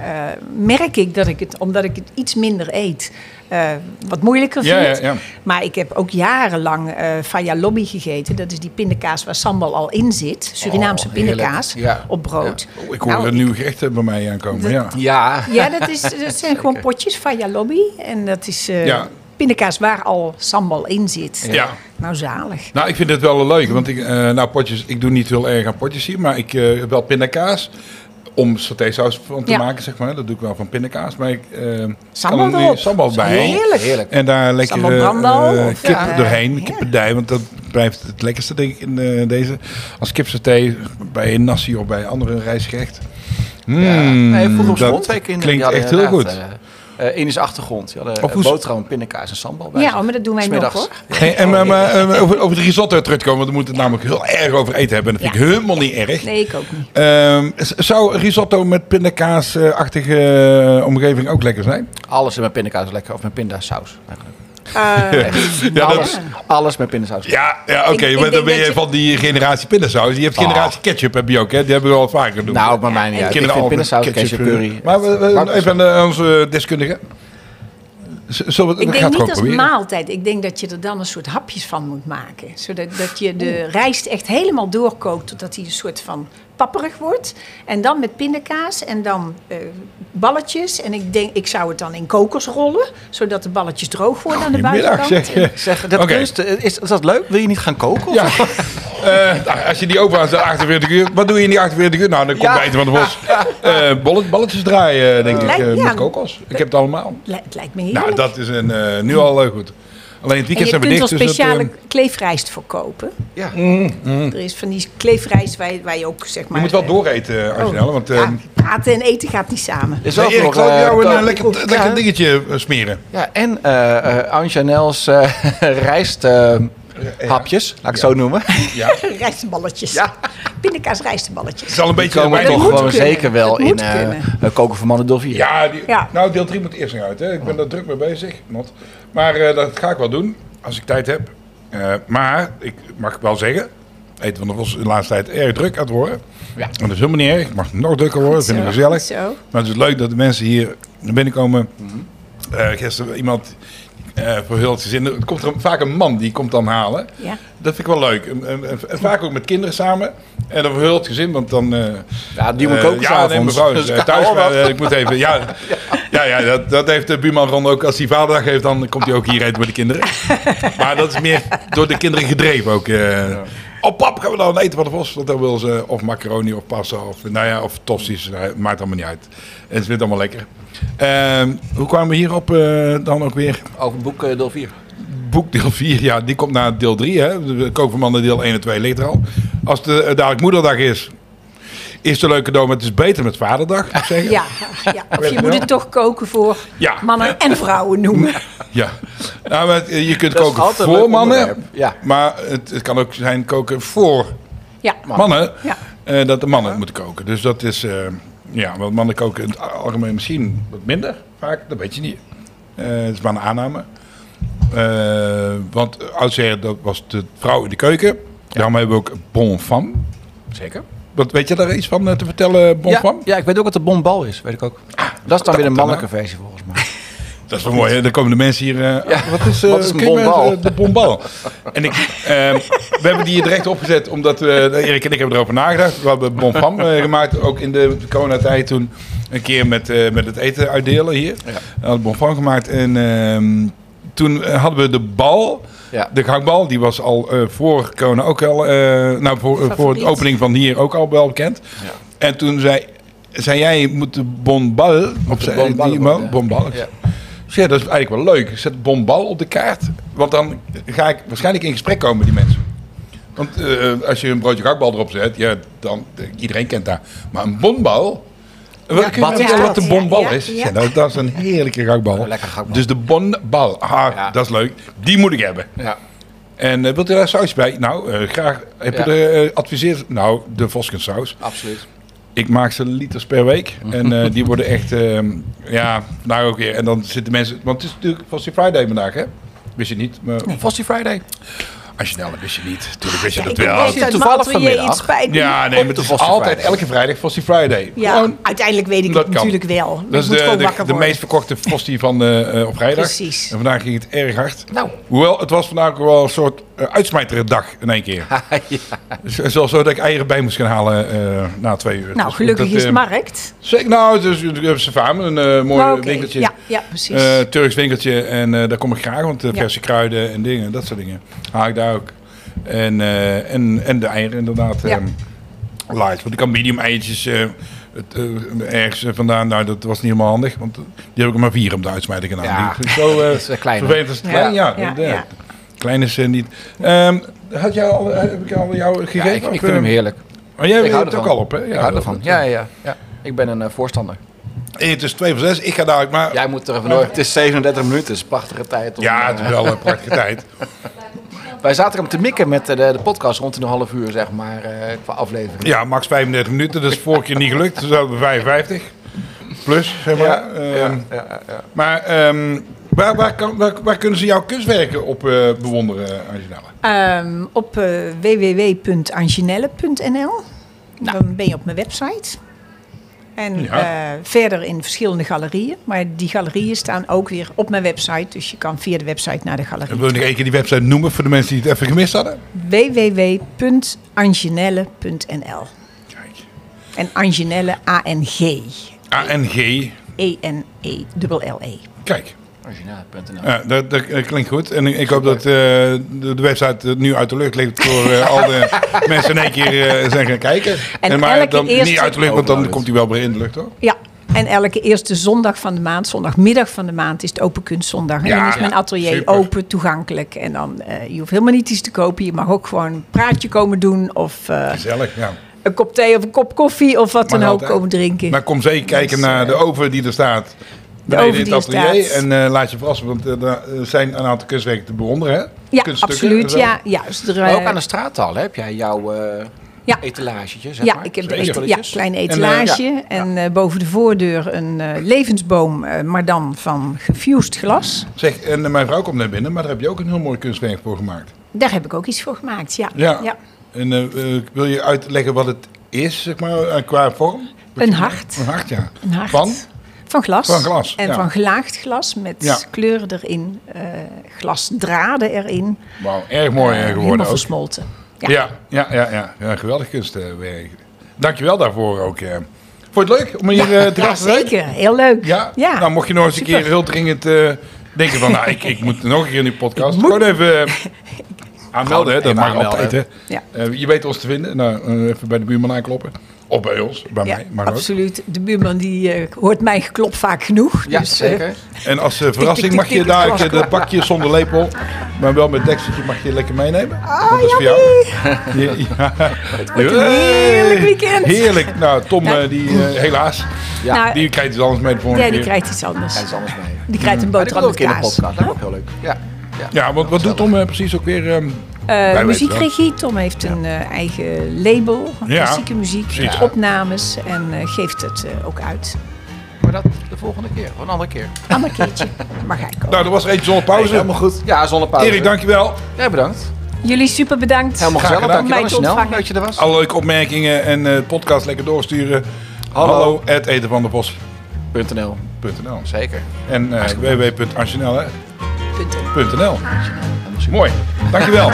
C: merk ik dat ik het, omdat ik het iets minder eet, eh, wat moeilijker
B: Ja,
C: vind.
B: ja, ja.
C: Maar ik heb ook jarenlang eh Faya Lobby gegeten. Dat is die pindakaas waar sambal al in zit. Surinaamse
A: Oh, heerlijk.
C: pindakaas
A: Ja.
C: op brood.
B: eet. Oh, ik hoor
C: Nou,
B: een nieuw gerecht eh, bij mij aankomen, ja.
A: Ja.
C: Ja, dat, is, dat zijn gewoon potjes Faya Lobby. En dat is eh
B: Ja.
C: pindakaas waar al sambal in zit.
B: Ja.
C: Nou, zalig.
B: Nou, ik vind het wel leuk, want ik, eh, nou, potjes, ik doe niet heel erg aan potjes hier, maar ik eh, heb wel pindakaas om satésaus van te
C: Ja.
B: maken, zeg maar. Dat doe ik wel van pindakaas, maar ik eh,
C: Sambal
B: kan er
C: erop.
B: sambal bij.
C: Heerlijk.
A: Heerlijk.
B: En daar lekker
C: Sambal
B: eh,
C: brandal,
B: eh,
C: of,
B: kip
C: ja,
B: doorheen,
C: heerlijk.
B: kippendij, want dat blijft het lekkerste denk ik in eh, deze. Als kipsaté bij een nasi of bij andere rijstgerecht. Mm,
A: Ja. nee, vroeger op
B: dat
A: school twee kinderen.
B: klinkt
A: die
B: echt
A: hadden
B: heel goed.
A: inderdaad, eh, eh, Indische achtergrond. Die hadden
B: Of
A: of
B: hoe-
A: boterham, pindakaas en sambal bij zich.
C: Ja, oh, maar dat doen wij nog
A: Smiddags.
C: hoor.
B: Hey, en
A: oh,
B: maar, maar, eh, over, over de risotto terugkomen, want we moeten het namelijk heel erg over eten hebben. En dat vind ik helemaal niet erg.
C: Nee, ik ook niet.
B: Ehm, z- zou risotto met pindakaas-achtige eh, omgeving ook lekker zijn?
A: Alles met pindakaas is lekker. Of met pindasaus. eigenlijk.
C: Eh.
B: Ja,
A: alles,
B: dat-
A: alles met pindasaus.
B: ja, ja oké.
C: Ik- ik
B: maar dan
C: denk
B: ben
C: dat
B: je
C: je-
B: van die generatie pindasaus. Je hebt generatie ketchup, heb je ook, hè? Die hebben we al vaker gedaan.
A: Nou, maar mij niet uit. Ik vind pindasaus, ketchup, curry.
B: eh. Maar we, we-
A: Bak-
B: even aan onze deskundige. Z- Zullen we,
C: Ik
B: dat
C: denk
B: gaat
C: niet
B: gewoon
C: als
B: proberen.
C: maaltijd. Ik denk dat je er dan een soort hapjes van moet maken. Zodat dat je de rijst echt helemaal doorkookt totdat hij een soort van papperig wordt. En dan met pindakaas en dan eh, balletjes. En ik denk, ik zou het dan in kokos rollen, zodat de balletjes droog worden aan de
B: Goedemiddag,
C: buitenkant.
B: zeg je.
A: Zeg, dat
B: Oké.
A: kunst, eh, is, is dat leuk? Wil je niet gaan koken? of
B: Ja. Eh, nou, als je die open aan 48 uur. Wat doe je in die 48 uur? Nou, dan komt
A: Ja.
B: bijten van de bos. Eh, ballet, balletjes draaien, denk ik.
C: Lijkt-
B: eh,
C: ja.
B: Met kokos. Ik heb het allemaal.
C: Li- Het lijkt me heerlijk.
B: Nou, dat is een, eh, nu al eh, goed. Alleen het
C: en
B: weekend
C: je
B: zijn we
C: kunt
B: dicht.
C: er
B: dus dat,
C: speciale
B: eh,
C: kleefrijst voor kopen.
A: Ja.
C: Er is van die kleefrijst waar je, waar je ook zeg maar...
B: je moet wel
C: eh,
B: dooreten, Arjen. hè, want, eh
C: ja, praten en eten gaat niet samen.
A: Is
B: nee,
A: ook
B: Erik,
A: nog,
B: zal ik
A: eh,
B: jou een
A: koken?
B: eh, lekker,
A: Ja,
B: lekker
A: hè?
B: dingetje eh, smeren?
A: Ja, en eh eh Anja Nels rijsthapjes, eh, laat ik het zo noemen.
B: Ja. Het
C: Rijstballetjes.
A: Ja.
C: Pindakaas rijstballetjes.
B: is al een beetje
A: komen
B: erbij
A: toch
C: moet
B: nog.
A: gewoon
C: kunnen.
A: zeker wel
C: Dat
A: in
C: moet
A: eh,
C: kunnen.
A: eh, Koken voor Mannen deel 4.
B: Ja, die-
C: Ja.
B: nou deel 3 moet eerst nog uit. Hè. Ik ben daar druk mee bezig. Not. Maar eh, dat ga ik wel doen, als ik tijd heb. Eh, maar, ik mag wel zeggen... Eten van de Vos is de laatste tijd erg druk aan het worden.
A: Ja.
B: En dat is helemaal niet erg. Het mag nog drukker worden. Dat vind ik
C: Zo,
B: gezellig.
C: Zo.
B: Maar het is leuk dat de mensen hier naar binnen komen. Eh, gisteren iemand eh, voor heel het gezin. Er komt er vaak een man die komt dan halen.
C: Ja.
B: Dat vind ik wel leuk. En, en- en- en vaak ook met kinderen samen. En dan voor heel het gezin, want dan... eh,
A: Ja, die moet
B: eh,
A: koken
B: Ja,
A: s'avonds.
B: nee, mevrouw is
A: Dus
B: eh,
A: kan
B: thuis.
A: wel
B: Maar,
A: wat.
B: eh, ik moet even... Ja, ja, ja dat, dat heeft de buurman Ron ook. Als hij vaderdag heeft, dan komt hij ook hier eten met de kinderen. Maar dat is meer door de kinderen gedreven ook. eh. Oh pap, gaan we dan eten van de vos? Want dan wil ze of macaroni of pasta of, nou ja, of tosti's. Eh, Maakt allemaal niet uit. En ze vindt het allemaal lekker. Ehm, hoe kwamen we hierop eh, dan ook weer?
A: Over boek eh, deel 4.
B: Boek deel 4, ja, die komt na deel 3. Hè? De Kovermannen deel 1 en 2 ligt er al. Als de eh, dadelijk moederdag is, is het een leuk cadeau, maar het is beter met vaderdag. zou ik Zeggen.
C: Ja, ja, of je moet het toch koken voor
B: Ja.
C: mannen en vrouwen noemen.
B: ja. Nou, maar het- eh, je kunt
A: Dat is
B: koken
A: altijd een leuk
B: voor mannen,
A: onderwerp, ja.
B: maar het, het kan ook zijn koken voor
C: Ja,
B: mannen.
C: Ja.
B: eh, dat de mannen het moeten koken. Dus dat is, eh, ja, want mannen koken in het algemeen misschien wat minder vaak. Dat weet je niet. Eh het is maar een aanname. Eh, want oudsher, dat was de vrouw in de keuken. Daarom hebben we ook bon femme.
A: Zeker.
B: Wat, weet je daar iets van eh, te vertellen, bon
A: Ja,
B: femme?
A: ja, ik weet ook wat de bonbal is, weet ik ook. dat is dan weer een mannelijke versie volgens mij.
B: Dat is wel mooi, hè? Dan komen de mensen hier... eh,
A: Ja,
B: Wat is, eh,
A: wat is een
B: kun je me,
A: bombal?
B: eh, de bombal? en ik, ehm, we hebben die hier direct opgezet, omdat we, Erik en ik hebben erover nagedacht. We hebben bonfam eh, gemaakt, ook in de coronatijd toen. Een keer met, eh, met het eten uitdelen hier. We hadden bonfam gemaakt en ehm, toen eh, hadden we de bal...
A: Ja.
B: De gangbal, die was al eh, voor corona ook al... eh, nou, voor, eh, voor de
C: Favoriet.
B: opening van hier ook al wel bekend. En toen zei, zei jij, moet de bonbal... Of zei
A: bonbal
B: die
A: worden,
B: man?
A: ja.
B: Bonbal.
A: Ja.
B: Dus ja, dat is eigenlijk wel leuk. Ik zet bombal op de kaart. Want dan ga ik waarschijnlijk in gesprek komen met die mensen. Want eh, als je een broodje gakbal erop zet, ja, dan, iedereen kent dat. Maar een bonbal... Wat, kun je
A: wat
B: me
A: is
B: vertellen
C: dat?
B: wat de bonbal
C: Ja, ja,
B: is?
C: ja.
B: Ja, dat, dat is een heerlijke gakbal.
A: Lekker gakbal.
B: Dus de bonbal, ah,
A: Ja.
B: dat is leuk. Die moet ik hebben.
A: Ja.
B: En eh, wilt u daar saus bij? Nou, eh, graag. Heb
A: Ja.
B: je er eh, adviseert? Nou, de Voskensaus.
A: Absoluut.
B: Ik maak ze liters per week. En eh, die worden echt, ehm, ja, vandaag ook weer. En dan zitten mensen, want het is natuurlijk Fossil Friday vandaag, hè? Wist je niet? Maar,
A: Frosty Friday.
B: Als je nou, dat wist je niet. Tuurlijk wist je dat
C: ik
B: wel.
C: weet het,
A: Toevallig
C: maar toen je
A: vanmiddag.
C: iets spijt me.
B: Ja, nee,
A: Op
B: maar het
A: de
B: is
A: Fossil
B: altijd
A: Friday.
B: elke vrijdag Fossil Friday.
C: Ja,
B: Gewoon,
C: uiteindelijk weet ik
B: dat
C: het
B: kan.
C: natuurlijk wel. Maar
B: dat
C: ik
B: is
C: moet
B: de,
C: gewoon
B: de,
C: wakker
B: de
C: worden.
B: meest verkochte Fossil van eh, eh, op vrijdag.
C: Precies.
B: En vandaag ging het erg hard.
A: Nou.
B: Hoewel, het was vandaag ook wel een soort eh, uitsmijtere dag in één keer.
A: ja.
B: Zo- Zoals zo dat ik eieren bij moest gaan halen eh, na twee uur.
C: Nou,
B: Dus
C: gelukkig
B: dat,
C: is
B: eh,
C: het markt.
B: Zeker, nou, het is, het is een faam, een eh mooi
C: Maar oké,
B: winkeltje.
C: ja, Ja, precies.
B: eh, Turks winkeltje en eh, daar kom ik graag, want de
C: Ja.
B: verse kruiden en dingen, dat soort dingen, haal ik daar ook. En, eh, en, en de eieren inderdaad,
C: Ja.
B: ehm light. Want ik had medium eitjes eh, het, eh, ergens eh, vandaan, nou dat was niet helemaal handig, want die heb ik er maar vier om de uitsmijter gedaan.
A: Ja.
B: Die- Zo eh,
A: Dat is wel klein, hè?
B: vervelend als het
C: Ja.
B: klein, ja.
C: Ja,
B: dat-
C: ja.
B: Klein is eh, niet. Ehm, had jij al, eh, heb ik al jou
A: Ja,
B: gegeven?
A: ik,
B: Of,
A: ik vind hem
B: eh,
A: heerlijk.
B: Maar jij
A: Ik hou
B: hebt het ook
A: ervan.
B: al op, hè?
A: ik hou
B: dat-
A: ervan. Ja, ja, ja, ja. Ik ben een eh, voorstander.
B: Eh, Het is 2 voor 6, ik ga dadelijk maar...
A: Jij moet er vandoor. Het is 37 minuten, het is een prachtige tijd. om,
B: Ja,
A: eh,
B: het is wel een prachtige tijd.
A: wij zaten hem te mikken met eh, de, de podcast rond een half uur, zeg maar, eh, qua aflevering.
B: Ja, max 35 minuten. Dat is vorige keer niet gelukt. Dus hadden we 55. Plus, zeg maar. Ehm, Maar ehm, waar, waar, kan, waar, waar kunnen ze jouw kunstwerken op eh, bewonderen, Angela?
C: Ehm, op eh, www.anginelle.nl. Dan ben je op mijn website. En
B: Nou. Ja.
C: eh, verder in verschillende galerieën. Maar die galerieën staan ook weer op mijn website. Dus je kan via de website naar de
B: En
C: galerie.
B: wil je nog één keer die website noemen voor de mensen die het even gemist hadden?
C: www.anginelle.nl
B: Kijk.
C: En Anginelle, A-N-G-E-N-E-L-L-E.
B: ANG.
C: E
B: Kijk,
A: Originaal.nl.
B: eh, dat, dat klinkt goed. En ik, ik hoop dat eh, de, de website eh, nu uit de lucht ligt voor eh, al de mensen in één keer eh, zijn gaan kijken.
C: En
B: maar
C: elke
B: dan niet
C: eerste-
B: uit de lucht, want dan
A: Overloaded.
B: komt hij wel weer in de lucht, hoor.
C: Ja, en elke eerste zondag van de maand, zondagmiddag van de maand, is het Open Kunstzondag. En
B: Ja,
C: dan is mijn
B: ja,
C: atelier
B: super.
C: open, toegankelijk. En dan, eh, je hoeft helemaal niet iets te kopen. Je mag ook gewoon een praatje komen doen of eh,
B: Gezellig, ja.
C: een kop thee of een kop koffie of wat
B: Mag
C: dan ook
B: altijd.
C: komen drinken.
B: Maar kom zeker kijken
C: Dus,
B: naar de oven die er staat. Beneden
C: oven
B: in
C: die er
B: het atelier.
C: staat.
B: En eh, laat je verrassen, want eh, daar eh, zijn een aantal kunstwerken te bewonderen. Hè?
C: ja,
B: Kunststukken Eh, en
C: absoluut.
B: zo.
C: Ja, juist. Er,
A: Maar
C: eh,
A: ook aan de straathal hè, heb jij jouw eh
C: Ja.
A: etalagetjes, zeg
C: ja,
A: maar.
C: ik heb een
A: Zo'n
C: ete- ja,
A: spulletjes.
C: kleine etalage. En, eh, boven de voordeur een eh, levensboom, eh, maar dan van gefused glas.
B: Zeg, en eh, mijn vrouw komt naar binnen, maar daar heb je ook een heel mooi kunstwerk voor gemaakt.
C: Daar heb ik ook iets voor gemaakt, ja.
B: Ja.
C: ja.
B: En eh, eh, wil je uitleggen wat het is, zeg maar, eh, qua vorm? Wat
C: Een
B: je-
C: hart.
B: Een hart, ja.
C: Een hart.
B: Van?
C: Van glas.
B: Van glas,
C: En
B: ja.
C: van gelaagd glas met
B: Ja.
C: kleuren erin, eh, glasdraden erin.
B: Wauw, erg mooi eh,
C: helemaal
B: geworden ook.
C: versmolten.
B: Ja, ja, ja, ja, ja. geweldig kunstwerk. Dankjewel daarvoor ook. eh. Vond je het leuk om hier eh, te
C: Ja,
B: gast te zijn?
C: zeker. Heel leuk.
B: Ja? Nou, mocht je nog eens een
C: Super.
B: keer heel dringend eh, denken van, nou, ik, ik moet nog een keer in die podcast.
C: Ik moet.
B: Gewoon even eh, aanmelden, hè. dat
A: Even
B: mag
A: aanmelden.
B: altijd. Hè.
C: Ja.
B: Eh, je weet ons te vinden. Nou, eh, even bij de buurman aankloppen. Of bij ons, bij
C: Ja,
B: mij. Maar ook.
C: absoluut. De buurman die eh, hoort mijn geklop vaak genoeg.
A: Ja,
C: dus, eh,
A: zeker.
B: En als eh, verrassing
C: tik,
B: mag je
C: tik,
B: daar
C: tik.
B: eh, dat pakje zonder lepel, maar wel met dekseltje, mag je lekker meenemen.
C: Ah,
B: dat is voor jou. Ja, ja.
C: een heerlijk
B: Hey,
C: weekend.
B: Heerlijk. Nou, Tom, eh, die eh, helaas,
A: Ja.
C: nou,
B: die krijgt iets anders mee de volgende
C: ja, die
B: keer.
C: krijgt iets anders.
A: Kijk eens anders mee.
C: Die krijgt een
A: Maar die
C: boterham
A: komt ook in
C: met
A: de
C: kaas.
A: podcast, dat is ook heel leuk. Ja. ja.
B: Ja, want wat doet Tom eh, precies ook weer? ehm,
C: Eh,
B: weten
C: muziekregie. Tom heeft een eh, eigen label.
B: Ja,
C: Klassieke muziek.
B: precies.
C: met Opnames. En eh, geeft het eh, ook uit.
A: Maar dat de volgende keer, of een andere keer.
C: Ander keertje mag hij komen.
B: nou, er was er eentje zonder
A: Pauze.
B: pauze.
A: helemaal goed. Ja, zonder pauze.
B: Erik, dankjewel.
A: Jij bedankt.
C: Jullie super bedankt.
A: Helemaal
B: Graag
A: gezellig.
B: gedaan.
A: Dank je wel.
C: Mij te
A: Snel
C: ontvangen.
A: dat je er was.
B: Alle leuke opmerkingen en eh, podcast lekker doorsturen.
A: Hallo.
B: Hallo, at etenvandebos.nl
A: .nl. Zeker.
B: en eh www.arsenelle.nl. Mooi, dankjewel.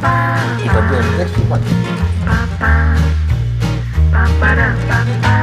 F: Ba-ba-da-ba-ba.